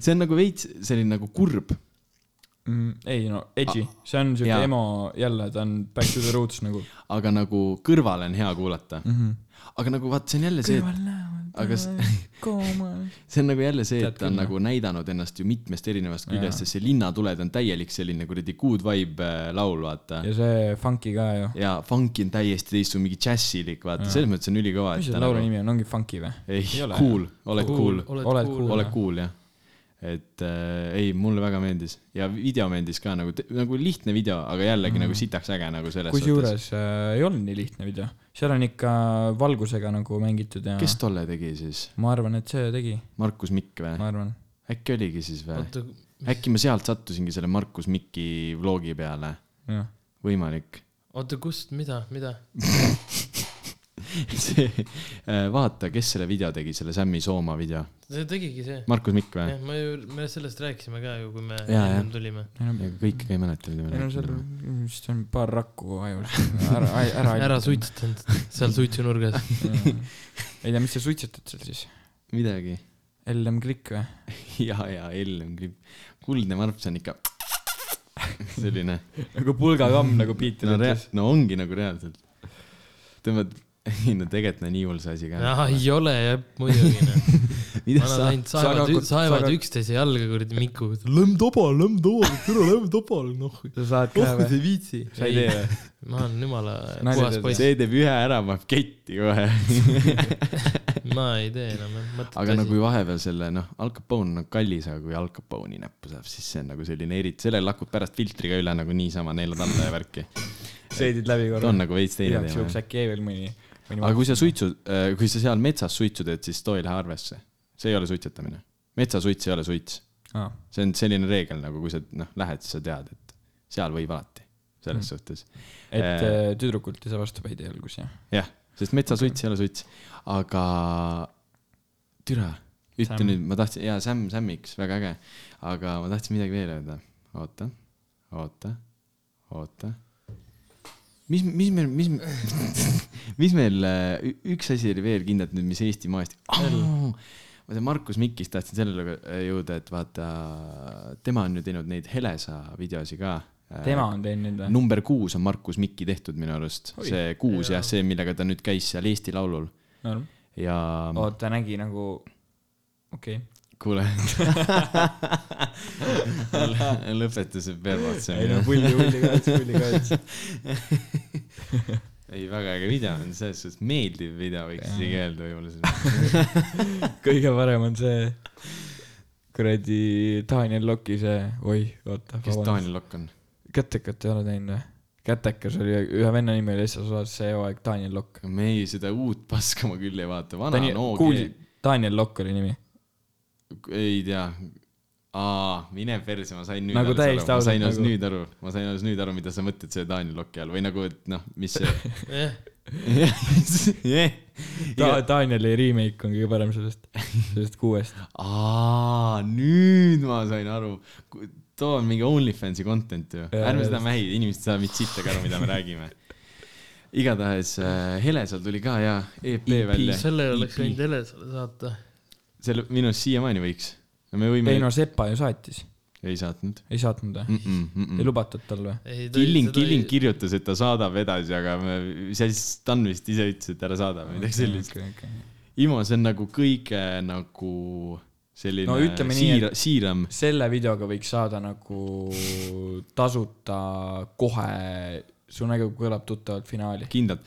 C: see on nagu veits selline nagu kurb .
B: Mm, ei no , edgy , see on siuke
C: Jaa.
B: emo , jälle ta on back to the roots nagu . Mhm.
C: aga nagu kõrvale on hea kuulata mm . -hmm. aga nagu vaat see on jälle see , aga s- see on nagu jälle see , et
B: Tead
C: ta on
B: küll, jah.
C: nagu näidanud ennast ju mitmest erinevast küljest , sest see Linnatuled on täielik selline kuradi good vibe äh, laul , vaata .
B: ja see funky ka ju .
C: ja funki on täiesti teistsugune , mingi džässilik , vaata , selles mõttes on ülikõva .
B: mis selle laulu nimi on , ongi funky või ?
C: ei
B: Ei ole, ,
C: cool , oled cool, cool. .
A: oled
B: Oled
A: cool
B: cool. .
C: ole cool jah . et äh, ei , mulle väga meeldis ja video meeldis ka nagu , nagu lihtne video , aga jällegi mm. nagu sitaks äge nagu selles suhtes .
B: kusjuures äh, ei olnud nii lihtne video , seal on ikka valgusega nagu mängitud ja
C: kes tolle tegi siis ?
B: ma arvan , et see tegi ,
C: Markus Mikk või ?
B: ma arvan .
C: äkki oligi siis või ?
A: oota ,
C: äkki ma sealt sattusingi selle Markus Mikki vlogi peale ,
B: jah ,
C: võimalik .
A: oota , kust , mida , mida ?
C: see , vaata , kes selle video tegi , selle Sammy Sooma video .
A: see tegigi see .
C: Markus Mikk või
A: jah ?, me ju , me sellest rääkisime ka ju , kui me
C: Jaa,
A: ennem
C: jah.
A: tulime .
C: kõike ka ei mäleta , mida me
B: ei no seal
C: rääkisime .
B: vist on paar rakku ajus . ära , ära .
A: ära . suitsetanud seal suitsunurgas .
B: ei tea , mis sa suitsetad seal siis ?
C: midagi .
B: LM Klikk või ?
C: ja , ja Ellen Klipp . kuldne marps on ikka selline .
B: nagu pulgakamm nagu Piiter
C: no rea- , no ongi nagu reaalselt . tõmbad , ei no tegelikult on nii hull see asi
A: aa ,
C: ka .
A: ei ole jah , muidugi noh .
C: mida
A: vanad ainult saevad ,
C: sa ,
B: saevakud-
A: saevad
B: saevakud-
A: üksteise jalga kuradi Miku . lömm tobal , lömm tobal , türa lömm tobal , noh .
B: sa saad ka või ?
C: ei viitsi . sa ei
A: Ei.
C: tee või ?
A: ma olen jumala
B: Nalja
A: puhas
B: teed,
A: poiss ,
C: see teeb ühe ära , paneb ketti kohe .
A: ma ei tee enam jah ,
C: aga
A: mõttetu
C: no
A: asi
C: kui . vahepeal selle noh , Al Capone on nagu kallis , aga kui Al Capone'i näppu saab , siis see on nagu selline eriti , sellele hakkad pärast filtriga üle nagu niisama neelad alla ja värki .
B: seedid läbi
C: ta
B: korra
C: on . nagu veits teine
B: igaks juhuks
C: teema .
B: äkki jäi veel mõni .
C: aga kui sa suitsu , kui sa seal metsas suitsu teed , siis too ei lähe arvesse . see ei ole suitsetamine . metsasuits ei ole suits .
B: aa ,
C: see on selline reegel nagu , kui sa noh , lähed , siis sa tead , et seal võib alati , selles
B: Mm.
C: suhtes .
B: et
C: Eh.
B: äh, tüdrukult ei saa vastupäide alguses jah ?
C: jah , sest metsasuits ei ole suits , aga türa , ütle
B: Sam.
C: nüüd , ma tahtsin , jaa , Sam , Samiks , väga äge , aga ma tahtsin midagi veel öelda . oota , oota , oota . mis , mis meil , mis , mis meil , üks asi oli veel kindlalt nüüd , mis Eesti maast oh, . ma tean , Markus Mikist tahtsin sellele äh, jõuda , et vaata , tema on ju teinud neid Helesa videosi ka . äh,
B: tema on teinud nüüd või ?
C: number kuus on Markus Mikki tehtud minu arust ,
B: Oi.
C: see kuus jah , see , millega ta nüüd käis seal Eesti Laulul
B: no
C: ja
B: oota , nägi nagu , okei okay. .
C: kuule . lõpetas pervert see
B: ei no
C: minu .
B: pulli , pulli kaits , pulli kaits .
C: ei , väga äge video on , selles suhtes meeldiv video , võiks
B: Jaa.
C: isegi öelda võib-olla .
B: kõige parem on see kuradi Daniel Loki see , oi , oota .
C: kes ? Daniel Lokk on ?
B: kätekat ei ole teinud või ? kätekas oli ühe venna nimi oli lihtsalt osas see hooaeg Daniel Lokk .
C: me ei , seda uut paska ma küll ei vaata , vana on OG .
B: kuulsid , Daniel Lokk oli nimi .
C: ei tea . Aa, mine perse , ma sain nüüd
B: Nagu
C: alles
B: täiesti
C: aru , ma sain
B: ausalt
C: alles
B: nagu-
C: nüüd aru , ma sain alles nüüd aru , mida sa mõtled selle Daniel Lokki all või nagu , et noh , mis see Eh?
A: jah ,
C: jah ,
B: ta , Danieli remake on kõige parem sellest , sellest kuuest .
C: aa , nüüd ma sain aru . too on mingi Onlyfansi content ju ,
B: Jaa,
C: ärme seda
B: just.
C: mähi , inimesed saavad mind sittagi aru , mida me räägime . igatahes äh, Helesel tuli ka ja EP
B: EP.
C: välja ,
A: selle oleks võinud Helesele saata .
C: selle minu arust siiamaani võiks . me võime
B: ei , no Sepa ju saatis ,
C: ei saatnud
B: ei saatnud või ?
C: mm . -mm, mm
B: ei
C: -mm.
B: lubatud tal või ?
C: Killing , Killing kirjutas , et ta saadab edasi , aga me , siis Stan vist ise ütles , et ära saada või midagi sellist . Imo , see on nagu kõige nagu selline
B: No ütleme nii,
C: siira ,
B: et-
C: siiram
B: selle videoga võiks saada nagu tasuta kohe , su nägu kõlab tuttavalt finaali .
C: kindlalt .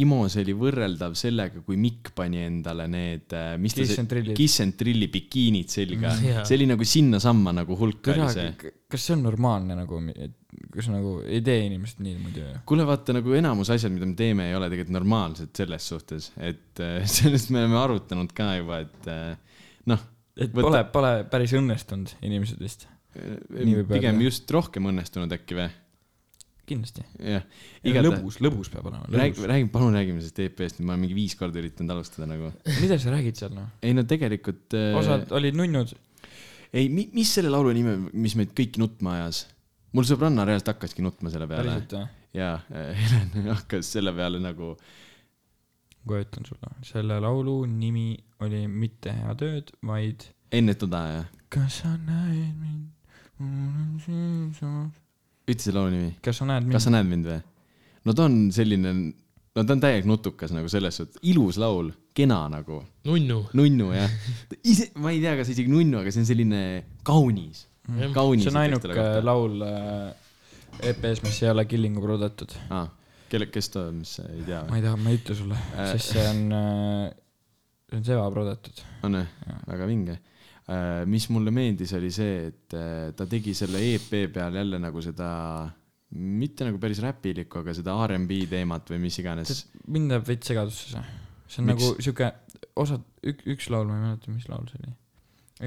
C: Imos oli võrreldav sellega , kui Mikk pani endale need , mis ta
B: Kiss and Thrillid.
C: Kiss and Trilli bikiinid selga
A: Mm, jaa.
C: yeah. . see oli nagu sinnasamma nagu hulk oli see .
B: kas see on normaalne nagu , kas nagu ei tee inimesed niimoodi või ?
C: kuule , vaata nagu enamus asjad , mida me teeme , ei ole tegelikult normaalsed selles suhtes , et äh, sellest me oleme arutanud ka juba , et äh, noh ,
B: et
C: Võta-
B: pole , pole päris õnnestunud inimesed vist , Nii võib
C: pigem
B: öelda.
C: just rohkem õnnestunud äkki või ?
B: kindlasti .
C: jah , igatahes
B: lõbus , lõbus peab olema ,
C: räägi ,
B: lõbus .
C: räägi , palun räägime sellest EP-st , ma olen mingi viis korda üritanud alustada nagu .
B: mida sa räägid seal noh ?
C: ei no tegelikult .
B: osad olid nunnud ,
C: ei , mis selle laulu nimi , mis meid kõiki nutma ajas ? mul sõbranna reaalselt hakkaski nutma selle peale
B: päriselt või ?
C: ja äh, Helen hakkas selle peale nagu ,
B: kohe ütlen sulle , selle laulu nimi oli mitte hea tööd , vaid
C: ennetada ja ,
B: kas sa näed mind , mul on siin samas .
C: ütle see laulu nimi ,
B: kas sa näed mind
C: kas ? sa näed mind või ? no ta on selline , no ta on täielik nutukas nagu selles suhtes , ilus laul , kena nagu ,
A: nunnu .
C: nunnu jah . ise , ma ei tea , kas isegi nunnu , aga see on selline kaunis , kaunis .
B: see on ainuke . laul äh, EP-s , mis ei ole Killingu proodetud .
C: aa , kelle , kes ta , mis sa ei tea
B: ma
C: või ?
B: ei taha , ma ei ütle sulle äh. , sest see on äh, , see on Seva proodetud .
C: on või ? väga vinge . mis mulle meeldis , oli see , et äh, ta tegi selle EP peal jälle nagu seda , mitte nagu päris räpilikku , aga seda R'n'B teemat või mis iganes .
B: mind jääb veits segadusse see . see on
C: Miks?
B: Miks? nagu sihuke , osad , ük- , üks laul , ma ei mäleta , mis laul see oli .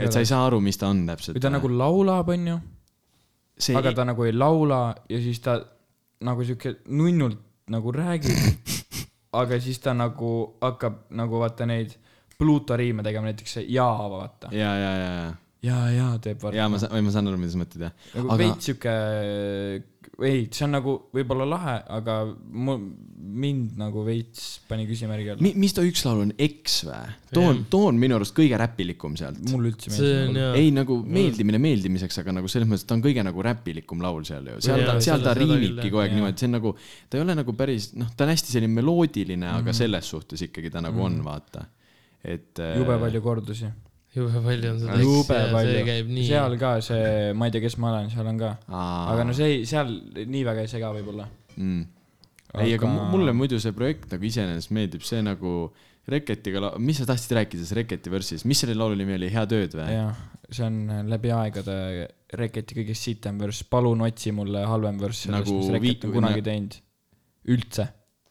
C: et sa ei saa aru , mis ta on
B: nagu
C: täpselt .
B: või ta nagu laulab , onju ,
C: see E-
B: aga ta nagu ei laula ja siis ta nagu siuke nunnult nagu räägib , aga siis ta nagu hakkab nagu vaata neid Pluto riime tegema , näiteks see jaa , vaata .
C: ja , ja , ja , ja ,
B: ja , ja teeb
C: ja ma . saan , või ma saan aru , mida sa mõtled , jah .
B: nagu aga...
C: aga-
B: veits siuke , ei , see on nagu võib-olla lahe , aga mu , mind nagu veits pani küsimärgi alla .
C: Mi- , mis too üks laul on , Eks vä ? too on , too on minu arust kõige räpilikum sealt .
B: mulle üldse
A: see on
B: meeldib .
A: jaa .
C: ei nagu meeldimine meeldimiseks , aga nagu selles mõttes , et ta on kõige nagu räpilikum laul seal ju , seal
A: Jaa,
C: ta , seal
A: selle-
C: ta
A: seda küll,
C: riimibki
A: jah.
C: kogu aeg
B: Jaa.
C: niimoodi , see on nagu , ta ei ole nagu päris , noh , ta on hästi selline meloodiline ,
B: Mhm.
C: aga selles suhtes ikkagi ta nagu on , vaata . et . äh,
B: jube . palju kordusi .
A: jube palju on seda .
B: jube palju
A: see käib . nii .
B: seal ka see , ma ei tea , kes ma olen , seal on ka .
C: aga
B: aga no see ei , seal nii väga ei sega võib-olla .
C: mm. . ei , aga
B: Aga-
C: mu- mulle muidu see projekt nagu iseenesest meeldib , see nagu Reketiga la- , mis sa tahtsid rääkida selles Reketi versis , mis selle laulu nimi oli , Hea tööd või ?
B: jah , see on läbi aegade Reketi kõige sitem värss , palun otsi mulle halvem värss sellest
C: Nagu
B: nagu mis
C: viit-
B: Reket on kunagi teinud . üldse ,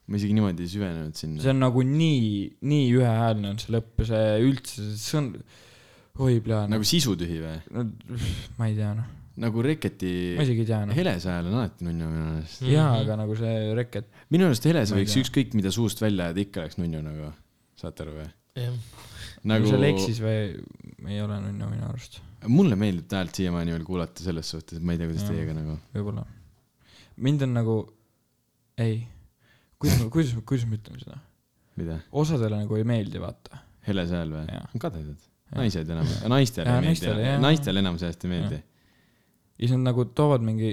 C: ma isegi niimoodi ei süvenenud sinna
B: see . on nagu nii , nii ühehäälne on see lõpp , see üldse , see on , oi plaan
C: nagu sisutühi või ?
B: no, , ma ei tea noh ,
C: nagu Reketi
B: ma isegi ei tea noh .
C: Helese hääl on alati nunnu minu arust .
B: jaa , aga nagu see Reket ,
C: minu arust Helese
B: Ma ei
C: võiks
B: tea.
C: ükskõik mida suust välja ajada , ikka oleks nunnu nagu , saate aru või ?
A: jah ,
B: nagu...
C: nagu
B: seal eksis või ei ole nunnu minu arust ,
C: mulle meeldib ta häält siiamaani veel kuulata selles suhtes , et ma ei tea , kuidas
B: Jah.
C: teiega nagu .
B: võib-olla . mind on nagu , ei , kuidas , kuidas , kuidas me ütleme seda ,
C: mida ?
B: osadele nagu ei meeldi vaata .
C: Helese hääl või
B: Jah. ?
C: kadedad .
B: Jah.
C: naised enam , naistele
B: Jaa,
C: ei
B: naistele,
C: meeldi
B: jah. ,
C: naistele enamusajast ei meeldi .
B: ja siis nad nagu toovad mingi ,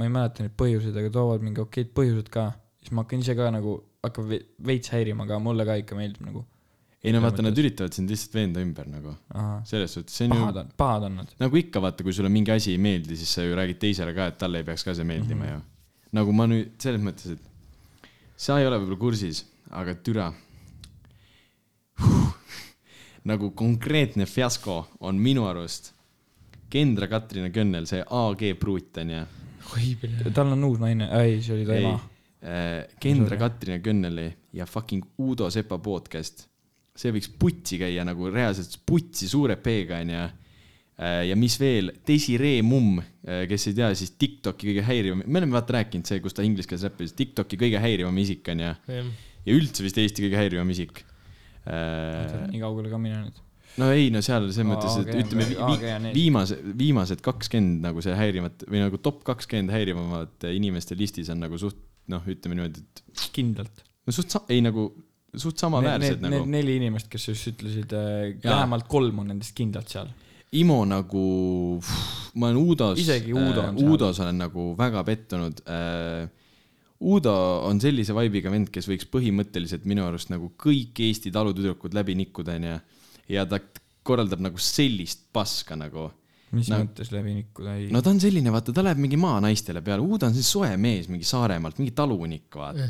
B: ma ei mäleta neid põhjuseid , aga toovad mingi okeid põhjused ka , siis ma hakkan ise ka nagu , hakkab ve- veits häirima , aga mulle ka ikka meeldib nagu ,
C: ei no
B: Selles
C: vaata , nad
B: mõttes.
C: üritavad sind lihtsalt veenda ümber nagu ,
B: ahah ,
C: selles suhtes , see on
B: pahad
C: ju
B: on , pahad on nad .
C: nagu ikka vaata , kui sulle mingi asi ei meeldi , siis sa ju räägid teisele ka , et talle ei peaks ka see meeldima mm -hmm. ju . nagu ma nüüd selles mõttes , et sa ei ole võib-olla kursis , aga türa huh. . nagu konkreetne fiasko on minu arust Kendra Katrina Könnel , see AG Pruut on ju
A: oi pidi .
B: tal on uus naine , ei , see oli ta
C: ei äh,
B: ema .,
C: Kendra
B: Sorry.
C: Katrina Könneli ja fucking Uudo Sepa podcast . see võiks putsi käia nagu reaalselt putsi suure P-ga onju . ja mis veel , Desiree Mumm , kes ei tea , siis Tiktoki kõige häirivam , me oleme vaata rääkinud see , kus ta inglise keeles räppis , Tiktoki kõige häirivam isik onju .
A: jah ,
C: ja üldse vist Eesti kõige häirivam isik .
B: nii kaugele ka minenud .
C: no ei , no seal selles
B: Aa,
C: mõttes , et
B: okei,
C: ütleme
B: okei,
C: vi-
B: okei, on
C: vi-
B: ees.
C: viimase , viimased kakskümmend nagu see häirivat või nagu top kakskümmend häirivamate inimeste listis on nagu suht noh , ütleme niimoodi , et
B: kindlalt .
C: no suht sa- , ei nagu suht samaväärsed
B: Need, need,
C: nagu
B: need . neli inimest , kes just ütlesid ,
C: Jaa.
B: vähemalt kolm on nendest kindlalt seal .
C: Imo nagu , ma olen Uudos .
B: Isegi Uudo on seal.
C: Uudos olen nagu väga pettunud äh, . Uudo on sellise vaibiga vend , kes võiks põhimõtteliselt minu arust nagu kõik Eesti talutüdrukud läbi nikkuda , onju . ja ta korraldab nagu sellist paska nagu
B: mis
C: No-
B: no. mõttes läbi nikkuda ei
C: no ta on selline , vaata , ta läheb mingi maanaistele peale , Uudo on siis soe mees , mingi Saaremaalt , mingi talunik , vaata .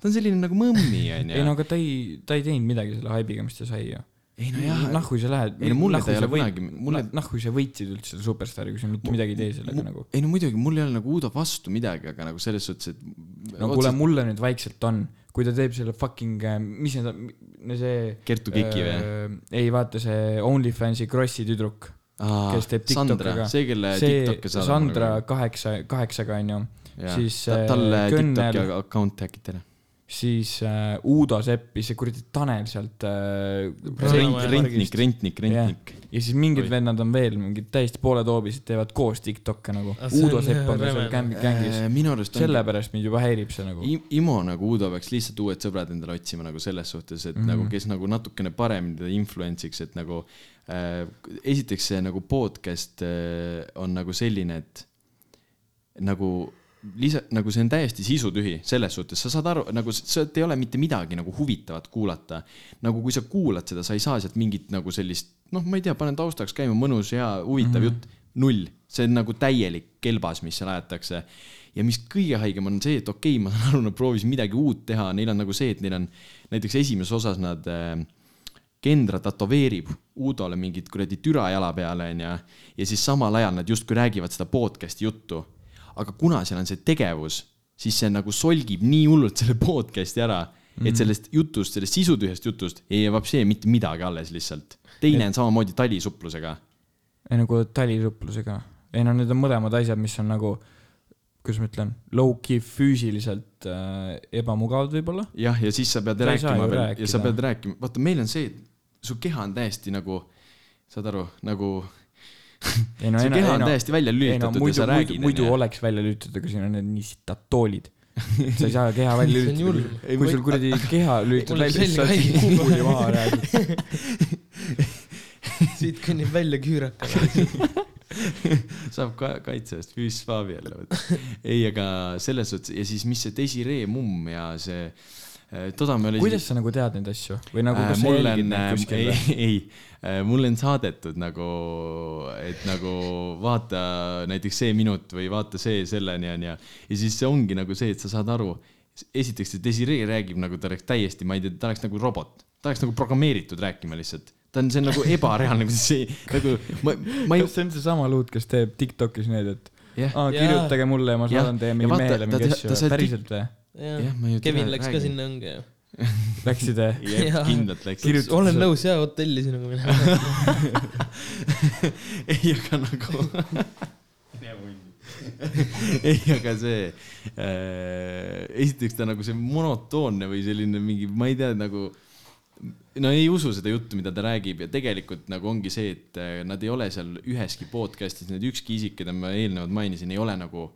C: ta on selline nagu mõmmi , onju .
B: ei no aga ta ei , ta ei teinud midagi selle haibiga , mis ta sai ju .
C: ei no jah ,
B: nahku sa lähed .
C: ei no mulle ta ei ole kunagi- mulle-
B: nahku sa võitsid üldse selle superstaari , kui sa mitte midagi ei tee sellega
C: Mu-
B: nagu .
C: ei no muidugi , mul ei ole nagu Uudo vastu midagi , aga nagu selles suhtes , et
B: no kuule , mulle nüüd vaikselt on , kui ta teeb selle fucking , mis need on , see .
C: Kertu Kiki või ??
B: Äh, ei vaata see OnlyFansi Krossi tüdruk , kes teeb TikTokiga .
C: see , kelle
B: see
C: TikTok'e saadab . nagu-
B: Sandra kaheksa , kaheksaga onju , siis, äh,
C: talle
B: Könnel-
C: TikTok'i account häkiti ära .
B: siis äh, Uudo Sepp ja see kuradi Tanel sealt äh, .
A: Rent-
C: rentnik , rentnik , rentnik .
B: ja siis mingid
C: Oi.
B: vennad on veel mingid täiesti pooletoobised , teevad koos TikTok'e nagu
A: Ah, . see
B: Uudo
A: on
B: Sepp on ka
A: räme.
B: seal gäng- gängis .
C: minu arust Äh, on
B: sellepärast mind juba häirib see nagu .
C: I- Imo nagu Uudo peaks lihtsalt uued sõbrad endale otsima nagu selles suhtes , et mm -hmm.
B: Mhm.
C: nagu kes nagu natukene paremini teda influence'iks , et nagu äh, esiteks see nagu podcast äh, on nagu selline , et nagu lisa , nagu see on täiesti sisutühi selles suhtes , sa saad aru , nagu s- sealt ei ole mitte midagi nagu huvitavat kuulata . nagu kui sa kuulad seda , sa ei saa sealt mingit nagu sellist , noh , ma ei tea , panen taustaks käima , mõnus , hea , huvitav mm -hmm. jutt , null . see on nagu täielik kelbas , mis seal aetakse . ja mis kõige haigem on see , et okei okay, , ma saan aru , nad proovisid midagi uut teha , neil on nagu see , et neil on näiteks esimeses osas nad äh, Kendra tätoveerib Uudole mingit kuradi türa jala peale , onju . ja siis samal ajal nad justkui räägivad seda podcast'i juttu . aga kuna seal on see tegevus , siis see nagu solgib nii hullult selle podcast'i ära ,
B: Mhm.
C: et sellest jutust , sellest sisutühjast jutust ei jää vapsee mitte midagi alles lihtsalt . teine on samamoodi talisupplusega .
B: ei no kuule , talisuplusega . ei no need on mõlemad asjad , mis on nagu kuidas ma ütlen , low-key füüsiliselt äh, ebamugavad võib-olla .
C: jah , ja siis sa pead
B: Sa ei saa
C: rääkima
B: ju
C: veel ja sa
B: rääkida.
C: pead rääkima , vaata , meil on see , su keha on täiesti nagu , saad aru , nagu
B: ei
C: no, su
B: ei
C: keha ei, on
B: ei
C: no, täiesti välja
B: ei no
C: lülitatud no, ja
B: muidu ,
C: sa
B: muidu ,
C: räägid .
B: muidu oleks välja lülitatud , aga siin on need nii sitad toolid . sa ei saa keha välja
A: See on
B: lülitada
A: julm. .
B: kui sul kuradi keha lülitad
A: Mul on
B: välja , siis sa
A: selg
B: oled siin
A: haige.
B: kuuli maha räägid .
A: siit kõnnib välja küürakas .
C: saab ka kaitse eest füüssvaabi jälle võtta . ei , aga selles suhtes ja siis , mis see Desiree mumm ja see , toda me olime .
B: kuidas sa nagu tead neid asju või nagu kas
C: Äh,
B: sa
C: mul
B: jälgid
C: on,
B: neid
C: äh,
B: kuskil
C: ei
B: või ?,
C: ei , mulle on saadetud nagu , et nagu vaata näiteks see minut või vaata see selleni on ja , ja siis see ongi nagu see , et sa saad aru . esiteks , et Desiree räägib nagu ta oleks täiesti , ma ei tea , ta oleks nagu robot , ta oleks nagu programmeeritud rääkima lihtsalt ta on , see on nagu ebareaalne , see nagu ma , ma ei
B: kas , see on seesama luud , kes teeb Tiktokis need , et
C: jah ,
B: aa , kirjutage mulle ja ma
C: Jah.
B: saadan teie
C: Ja
B: mingi
C: vaata,
B: mehele
C: ta
B: mingi
C: teha-
B: asju
C: ta sai . tik-
B: päriselt või ?
C: Jah, ma ju
A: Kevin
C: tean,
A: läks ka
C: räägin.
A: sinna õnge ju .
B: Läksid või ?
A: Jaa.
C: kindlalt läks .
B: Kirjuta- Kirjutas
A: olen
B: sa-
A: nõus jaa , hotelli sinuga minema .
C: ei , aga nagu . ei , aga see äh, , esiteks ta nagu see monotoonne või selline mingi , ma ei tea , nagu no ei usu seda juttu , mida ta räägib ja tegelikult nagu ongi see , et äh, nad ei ole seal üheski podcast'is , need ükski isik , keda ma eelnevalt mainisin , ei ole nagu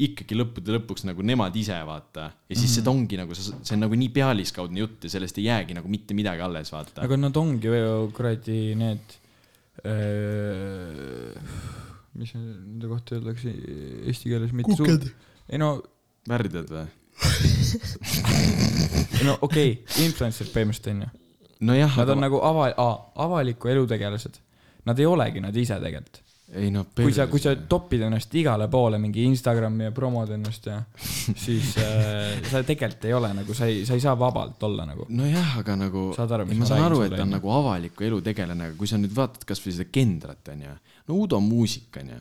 C: ikkagi lõppude lõpuks nagu nemad ise vaata . ja
B: Mhm.
C: siis mm -hmm. seda ongi nagu , see on nagu nii pealiskaudne jutt ja sellest ei jäägi nagu mitte midagi alles vaata .
B: aga nad ongi ju kuradi need öö, mis on- nende kohta öeldakse eesti keeles mitte kuked ei no ,
C: värdjad või ?
B: ei no okei okay, , influencer'id põhimõtteliselt onju ,
C: nojah ,
B: nad
C: aga
B: on nagu ava- , avaliku elu tegelased . Nad ei olegi nad ise tegelikult .
C: ei no .
B: kui sa , kui sa topid ennast igale poole mingi Instagrami ja promod ennast ja siis äh, sa tegelikult ei ole nagu , sa ei , sa ei saa vabalt olla nagu .
C: nojah , aga nagu
B: Saad aru, mis
C: ma
B: ma
C: saan
B: räägin
C: aru ,
B: sulle,
C: et ta on
B: onju?
C: nagu avaliku elu tegelane , aga kui sa nüüd vaatad kasvõi seda Kendrat onju , no Udo muusik onju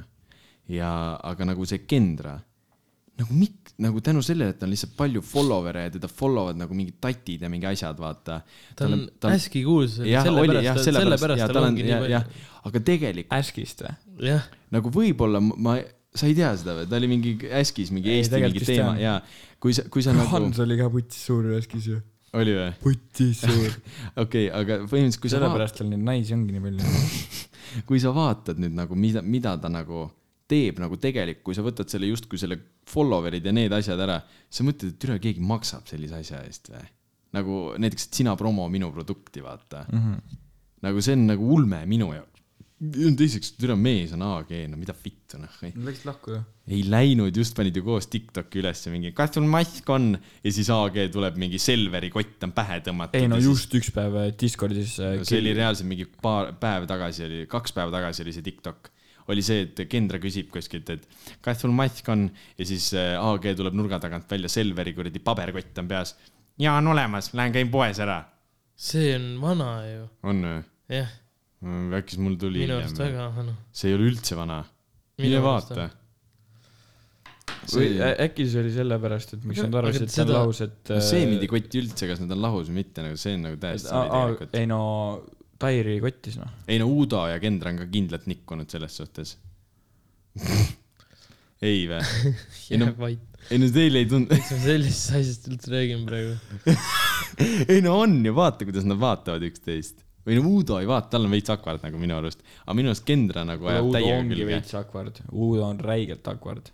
C: ja , aga nagu see Kendra , nagu mik- , nagu tänu sellele , et ta on lihtsalt palju follower'e ja teda followvad nagu mingid tatid ja mingi asjad , vaata .
A: ta on hästi kuulsus ,
C: jah , oli
A: sellepärast
C: jah ,,
A: sellepärast tal ongi nii palju .
C: palju . aga tegelikult
B: Askist või ?
A: jah ,
C: nagu võib-olla ma- ma , sa ei tea seda või , ta oli mingi äskis mingi
B: Ei,
C: Eesti
B: tegelikult
C: mingi
B: vist
C: teema
B: tean.
C: ja kui sa , kui sa nagu ,
B: Hans oli ka putis suur Askis ju .
C: oli või ?
B: putis suur .
C: okei okay, , aga põhimõtteliselt , kui sa vaatad
B: sellepärast tal neid naisi ongi nii palju .
C: kui sa vaatad nüüd nagu , mida , mida ta nagu teeb nagu tegelik , kui sa võtad selle justkui selle follower'id ja need asjad ära , sa mõtled , et üle keegi maksab sellise asja eest või ? nagu näiteks , et sina promo minu produkti , vaata mm .
B: Mhm.
C: -hmm. nagu see on nagu ulme minu jaoks . teiseks , türa mees on AG , no mida vittu noh .
B: Nad läksid lahku ju .
C: ei läinud , just panid ju koos Tiktoki ülesse mingi , kas sul mask on ? ja siis AG tuleb mingi Selveri kott on pähe tõmmatud .
B: ei no just üks päev äh, Discordis äh,
C: no see oli reaalselt mingi paar päev tagasi oli , kaks päeva tagasi oli see Tiktok , oli see , et Kendra küsib kuskilt , et kas sul mask on ja siis äh, AG tuleb nurga tagant välja , Selveri kuradi paberkott on peas . ja on olemas , lähen käin poes ära .
A: see on vana ju ,
C: on või ?
A: jah ,
C: äkki siis mul tuli
A: minu arust
C: hiljem .
A: väga vana .
C: see ei ole üldse vana .
A: Minu
C: mine
A: arust
C: vaata .
B: või
C: see
B: ä- äkki see oli sellepärast , et miks
A: Aga-
B: nad arvasid ,
A: aga
B: et see on
A: seda-
B: laus , et äh,
C: seemidi kotti üldse , kas nad on lahus või mitte , nagu see on nagu täiesti
B: aa, aa,
C: tegelikult .
B: ei no , Tairi kottis noh .
C: ei no Udo ja Kendra on ka kindlalt nikkunud selles suhtes . ei vä ? Ei no-
A: jääb vait ,
C: ei no teile ei tundu ,
A: miks me sellisest asjast üldse räägime praegu ?
C: ei no on ju , vaata , kuidas nad vaatavad üksteist . või no Uudo ei vaata , tal on veits akvard nagu minu arust , aga minu arust Kendra nagu ajab
B: Uudo
C: täiega
B: ongi
C: külge .
B: veits akvard , Uudo on räigelt akvard .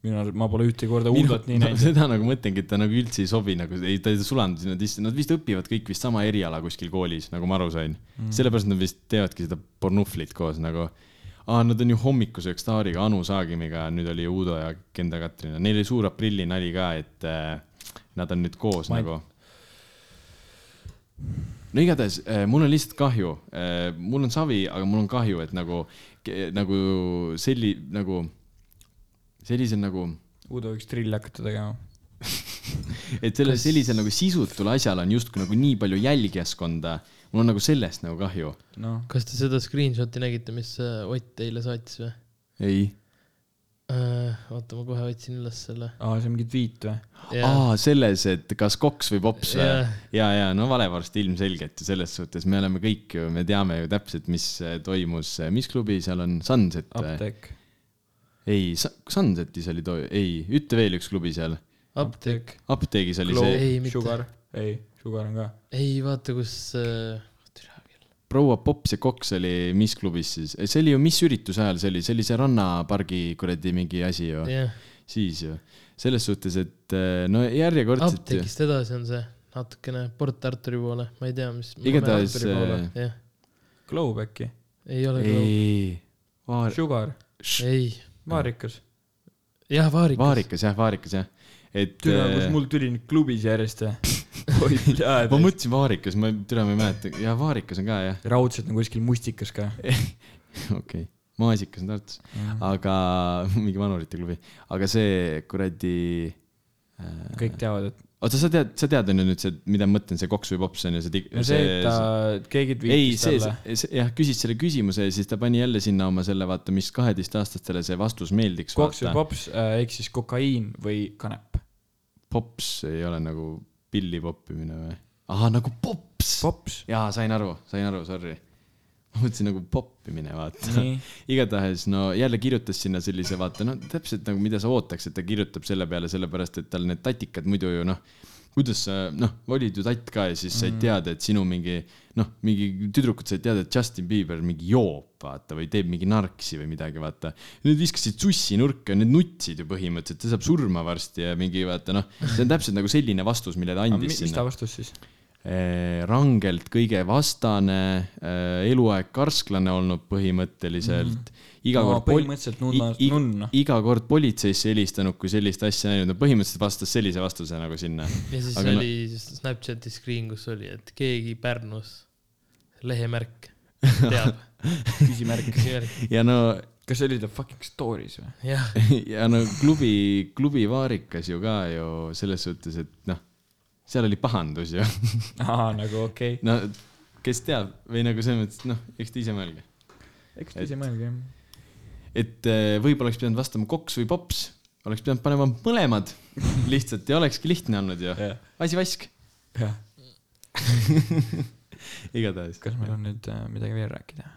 B: minu arust , ma pole ühtegi korda
C: Minu,
B: Uudot nii
C: no,
B: näinud .
C: seda nagu mõtlengi , et ta nagu üldse ei sobi nagu , ei ta ei sulandu sinna sisse , nad vist õpivad kõik vist sama eriala kuskil koolis , nagu ma aru sain mm. . sellepärast nad vist teevadki seda pornuflit koos nagu . aa , nad on ju hommikusöök staariga Anu Saagimiga , nüüd oli Uudo ja Kenda Katrina , neil oli suur aprillinali ka , et äh, nad on nüüd koos
B: Ma
C: ma...
B: ei-
C: nagu . no igatahes eh, mul on lihtsalt kahju , mul on savi , aga mul on kahju , et nagu , nagu selli- , nagu sellisel nagu ,
B: Uudo võiks trilli hakata tegema .
C: et sellel sellisel nagu sisutul asjal on justkui nagu nii palju jälgijaskonda , mul on nagu sellest nagu kahju .
B: noh ,
A: kas te seda screenshot'i nägite , mis äh, Ott teile saatis või ?
C: ei .
A: oota , ma kohe otsin üles selle .
B: aa , see on mingi tweet või ?
C: aa , selles , et kas koks või pops või
A: Jah. ?
C: ja , ja no valevorst ilmselgelt ja selles suhtes me oleme kõik äh, ju , me teame ju täpselt , mis eh, toimus , mis klubi seal on , Sunset või ?
B: apteek .
C: ei , Sunsetis oli too , ei , ütle veel üks klubi seal .
A: apteek .
C: apteegis oli see
A: ei , mitte
B: Sugar ., ei , Sugar on ka .
A: ei vaata , kus äh, , türa küll .
C: proua Pops ja Koks oli mis klubis siis , see oli ju , mis ürituse ajal see oli , see oli see rannapargi kuradi mingi asi ju ,
A: jah ,
C: siis ju . selles suhtes , et eh, no järjekordselt ju ,
A: apteegist edasi on see natukene Port Arturi poole , ma ei tea , mis .
C: Igatahes, äh,
A: jah ,
B: Glow äkki ,
A: ei ole ei.
C: ei ,
B: Sugar ,
A: ei ,
B: Maarikas .
A: jah , Vaarikas .
C: vaarikas jah , vaarikas jah , et .
B: türa , kus mul tuli nüüd klubis järjest . oi ,
C: ma
B: tead .
C: mõtlesin vaarikas , ma türa ma ei mäleta , jaa vaarikas on ka jah ,
B: raudselt on kuskil mustikas ka .
C: okei okay. , maasikas on Tartus , aga mingi vanurite klubi , aga see kuradi äh,
B: kõik teavad , et .
C: oota , sa tead , sa tead on ju nüüd see , mida ma mõtlen , see koks või pops on ju see,
B: no
C: tig-
B: see , et ta , keegi
C: ei ,
B: tweetis
C: see,
B: talle .
C: see , see jah , küsis selle küsimuse ja siis ta pani jälle sinna oma selle , vaata , mis kaheteistaastastele see vastus meeldiks .
B: koks või pops äh, ehk siis kokaiin või kanep .
C: pops ei ole nagu pilli poppimine või ? ahah , nagu pops, pops. .
B: pops .
C: jaa , sain aru , sain aru , sorry . ma mõtlesin nagu poppimine , vaata .
B: nii ,
C: igatahes no jälle kirjutas sinna sellise vaata , no täpselt nagu mida sa ootaks , et ta kirjutab selle peale , sellepärast et tal need tatikad muidu ju noh , kuidas sa noh , olid ju tatt ka ja siis said
B: Mhm.
C: teada , et sinu mingi noh , mingi tüdrukud said teada , et Justin Bieber mingi joob , vaata , või teeb mingi narksi või midagi , vaata . Need viskasid sussi nurka , need nutsid ju põhimõtteliselt , ta saab surma varsti ja mingi vaata noh , see on täpselt nagu selline vastus , mille ta andis
B: mis ta vastas siis ?
C: Eh, rangelt kõige vastane , eluaeg karsklane olnud põhimõtteliselt mm. . iga
B: no
C: kord poli- i-
B: põhimõtteliselt nunna ,
C: i-
B: nunna .
C: iga kord politseisse helistanud , kui sellist asja näinud , no põhimõtteliselt vastas sellise vastuse nagu sinna .
A: ja siis
C: Aga
A: aga
C: no-
A: oli no... Snapchati screen , kus oli , et keegi Pärnus , lehemärk , teab ,
B: küsimärk .
C: ja no ,
B: kas see oli ta fucking story's või ?
A: jah ,
C: ja no klubi , klubi vaarikas ju ka ju selles suhtes , et noh , seal oli pahandus ju .
B: aa , nagu okei okay. .
C: no kes teab või nagu selles mõttes , noh , eks te ise mõelge .
B: eks
C: Et-
B: te ise mõelge jah .
C: et eh, võib-olla oleks pidanud vastama koks või pops , oleks pidanud panema mõlemad lihtsalt ja olekski lihtne olnud ju .
B: jah ,
C: asi vask ,
B: jah .
C: igatahes .
B: kas meil on nüüd äh, midagi veel rääkida ?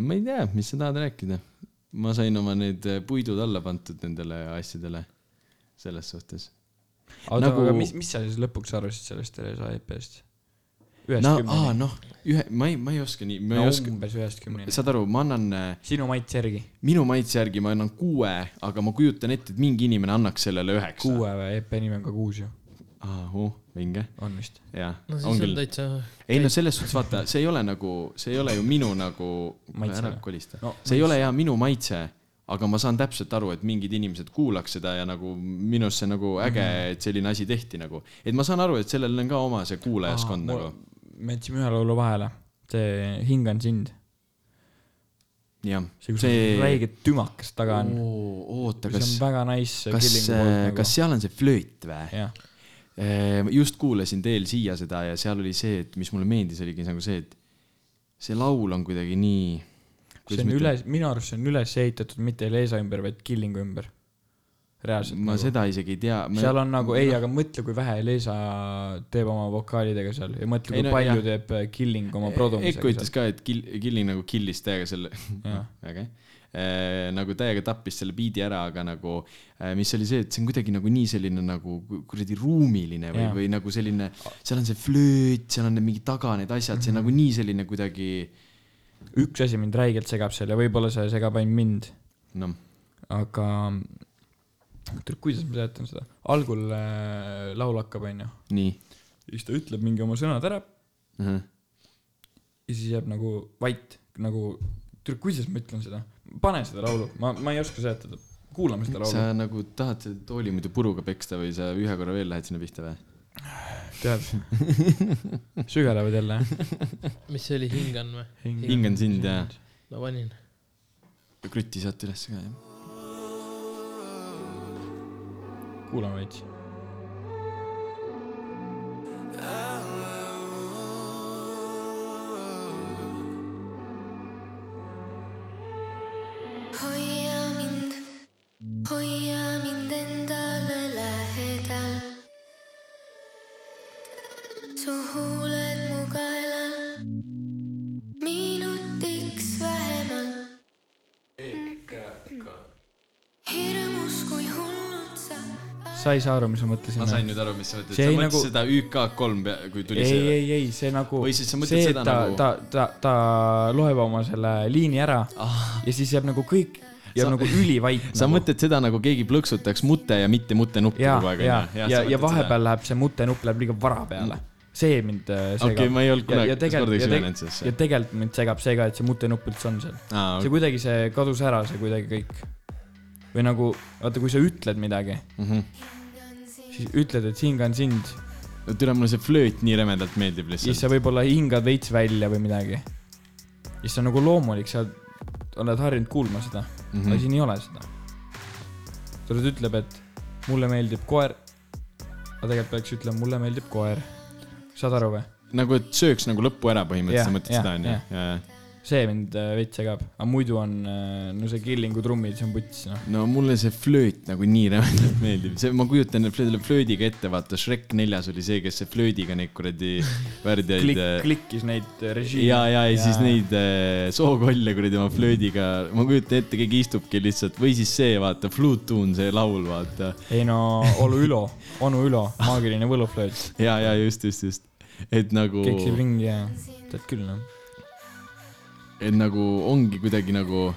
C: ma ei tea , mis sa tahad rääkida . ma sain oma need eh, puidud alla pandud nendele asjadele , selles suhtes .
B: oota
C: Nagu-
B: nagu... , aga mis , mis sa siis lõpuks arvasid sellest Theresa IP-st ? ühest
C: no , aa
B: kümneni .
C: noh , ühe , ma ei , ma ei oska nii , ma
B: no
C: ei oska ,
B: umbes ühest kümneni .
C: saad aru , ma annan ,
B: sinu maitse järgi .
C: minu maitse järgi ma annan kuue , aga ma kujutan ette , et mingi inimene annaks sellele üheksa .
B: kuue või , EP nimi on ka kuus ju .
C: ahuh , vinge ,
B: on vist ?
C: jah .
A: no siis on, on täitsa ,
C: ei no selles suhtes vaata , see ei ole nagu , see ei ole ju minu nagu ,
B: Maitse
C: ära
B: või?
C: kolista no,
B: No ,
C: see ei ole E jah minu maitse , aga ma saan täpselt aru , et mingid inimesed kuulaks seda ja nagu minu arust see nagu äge ,
B: Mhm.
C: et selline asi tehti nagu . et ma saan aru , et sellel on ka oma see kuulajaskond
B: Aa,
C: nagu .
B: me jätsime ühe laulu vahele . see Hingan sind .
C: jah ,
B: see , kus see...
C: see .
B: väike tümakas taga on .
C: oota ,
B: see on
C: kas ,
B: väga nice .
C: kas , kas seal on see flööt või ?
B: jah ,
C: just kuulasin teel siia seda ja seal oli see , et mis mulle meeldis , oligi nagu see , et see laul on kuidagi nii .
B: see on üles , minu arust see on üles ehitatud mitte Leesa ümber , vaid Killingu ümber . reaalselt .
C: ma seda isegi ei tea .
B: nagu. seal on nagu , ei , aga mõtle , kui vähe Leesa teeb oma vokaalidega seal ja mõtle ,
C: Ei
B: kui
C: no
B: no, palju
C: jah.
B: jah. teeb äh, Killing oma
C: Eko
B: produmisega
C: Eh, ütles . ka , et kill , killing nagu killis täiega selle ,
B: Jah.
C: väga hea , nagu täiega tappis selle biidi ära , aga nagu , mis oli see , et see on kuidagi nagu nii selline nagu ku- kuradi ruumiline või
B: Jah. ,
C: või nagu selline , seal on see flööt , seal on need mingi taga need asjad , see on nagu nii selline kuidagi ,
B: üks asi mind räigelt segab seal ja võib-olla see segab ainult mind ,
C: noh ,
B: aga . oota , kuidas ma seletan seda ? algul äh, laul hakkab , onju .
C: nii .
B: siis ta ütleb mingi oma sõnad ära ja siis jääb nagu vait , nagu , kuidas ma ütlen seda , pane seda laulu , ma , ma ei oska seletada , kuulame seda laulu
C: sa . nagu tahad selle tooli muidu puruga peksta või sa ühe korra veel lähed sinna pihta või ?
B: tead , sügelevad jälle .
A: mis see oli , hingan või ?
C: hingan sind ja
A: ma panin .
C: krutti sealt ülesse ka jah .
B: kuulame veits .
H: hoia mind , hoia mind endale lähedal . su huuled mu kaelal , minutiks vähemalt .
B: sa ei saa aru , mis ma mõtlesin .
C: ma sain nüüd aru , mis sa mõtled ,
B: See
C: sa
B: ei
C: mõtlesid
B: nagu-
C: seda UK3 , kui tuli
B: ei ,
C: see .
B: ei , ei see nagu .
C: Või siis sa mõtled seda
B: ta,
C: nagu-
B: ta , ta , ta loeb oma selle liini ära ah. ja siis jääb nagu kõik jääb
C: Sa-
B: sa, nagu ülivaikne .
C: sa mõtled seda , nagu keegi plõksutaks mute ja mitte mute nuppu
B: ja ,
C: kogu aeg ,
B: ja , ja , ja, ja vahepeal seda. läheb see mutenupp läheb liiga vara peale . see mind äh, segab .
C: Okei, ma ei olnud kunagi- kordagi süvenenud sellesse.
B: sellesse . ja tegelikult mind segab see ka , et see mutenupp üldse on seal .
C: Aa,
B: see kuidagi , see kadus ära , see kuidagi kõik . või nagu , vaata , kui sa ütled midagi ,
C: Mhm.
B: siis ütled , et hingan sind
C: no türa , mulle see flööt nii rämedalt meeldib
B: siis sa
C: lihtsalt .
B: võib-olla hingad veits välja või midagi . siis see on nagu loomulik , sa oled harjunud kuulma seda mm ,
C: Mhm.
B: -hmm. aga siin ei ole seda . ta nüüd ütleb , et mulle meeldib koer . aga tegelikult peaks ütlema , mulle meeldib koer . saad aru või ?
C: nagu , et sööks nagu lõppu ära
B: Jah,
C: põhimõtteliselt , sa mõtled
B: jah,
C: seda onju
B: jah. ? see mind äh, veits segab , aga muidu on äh, no see Killingu trummid , see on puts noh .
C: no mulle see flööt nagu nii rämedalt meeldib , see , ma kujutan et selle flöödiga ette , vaata Shrek neljas oli see , kes see flöödiga neid kuradi värdjaid
B: klikk , klikkis neid äh, režiime .
C: äh, ja , ja , ja siis . neid äh, sookolle kuradi oma flöödiga , ma kujutan ette , keegi istubki lihtsalt või siis see , vaata , Flutuun , see laul , vaata .
B: ei no , Olu Ülo , onu Ülo , maagiline võluflööt ,
C: ja , ja just , just , just , et nagu ,
B: keksib ringi ja tead küll noh .
C: et nagu ongi kuidagi nagu .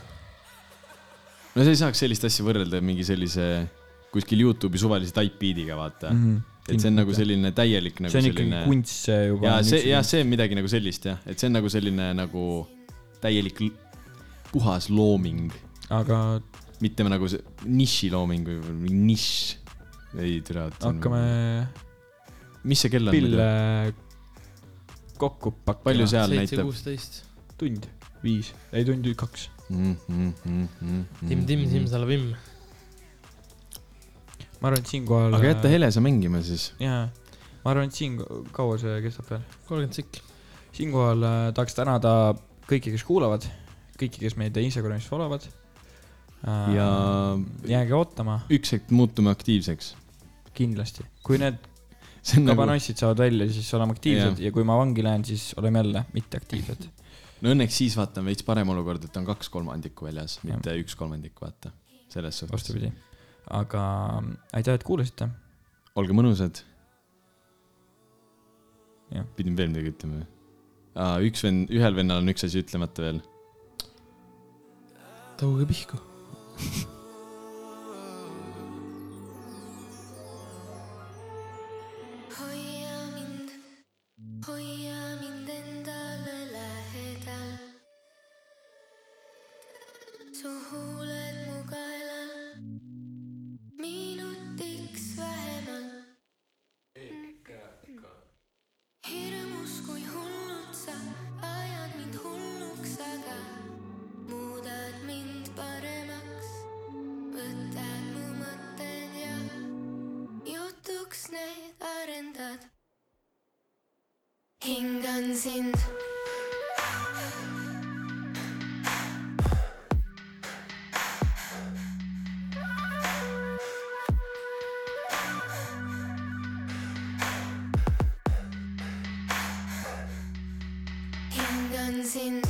C: no sa ei saaks sellist asja võrrelda mingi sellise kuskil Youtube'i suvalise typebeat'iga , vaata mm .
B: Mhm,
C: -hmm. et see on nagu selline täielik nagu
B: see on ikkagi
C: selline .
B: kunst see juba .
C: ja see , ja see on midagi nagu sellist jah , et see on nagu selline nagu täielik l- puhas looming
B: aga
C: mitte ma nagu see nišilooming või või nišš . ei türa .
B: hakkame .
C: nagu- mis see kell on
B: pille
C: muidu ?
B: kokku pakkima .
C: palju seal
A: seitse ,
C: näitab ?
A: kuusteist .
B: tund ? viis , ei tund , kaks .
C: Mm-hmm. Mhm.
A: timm-timm-timm , salavimm .
B: ma arvan , et siinkohal .
C: aga jäta . Helesa mängima siis .
B: jaa , ma arvan , et siin , kaua see kestab veel ?
A: kolmkümmend sekki .
B: siinkohal äh, tahaks tänada kõiki , kes kuulavad , kõiki , kes meid Instagramis followvad .
C: ja
B: jääge ootama ,
C: üks hetk muutume aktiivseks .
B: kindlasti . kui need
C: see on nagu ,
B: kabanossid saavad välja , siis oleme aktiivsed ja kui ma vangi lähen , siis oleme jälle mitteaktiivsed .
C: no õnneks siis vaata on veits parem olukord , et on kaks kolmandikku väljas , mitte üks kolmandik , vaata . selles suhtes .
B: vastupidi . aga mm, aitäh , et kuulasite
C: olge mõnusad
B: Jah. .
C: pidin veel midagi ütlema või ? üks vend , ühel vennal on üks asi ütlemata veel .
A: tõuge pihku .
H: hoia mind , hoia mind endale lähedal . su huuled mu kaelal , minutiks vähemalt . hirmus , kui hullult sa ajad mind hulluks , aga muudad mind paremaks , võtad mu mõtted ja jutuks need arendad . hingan sind . hingan sind .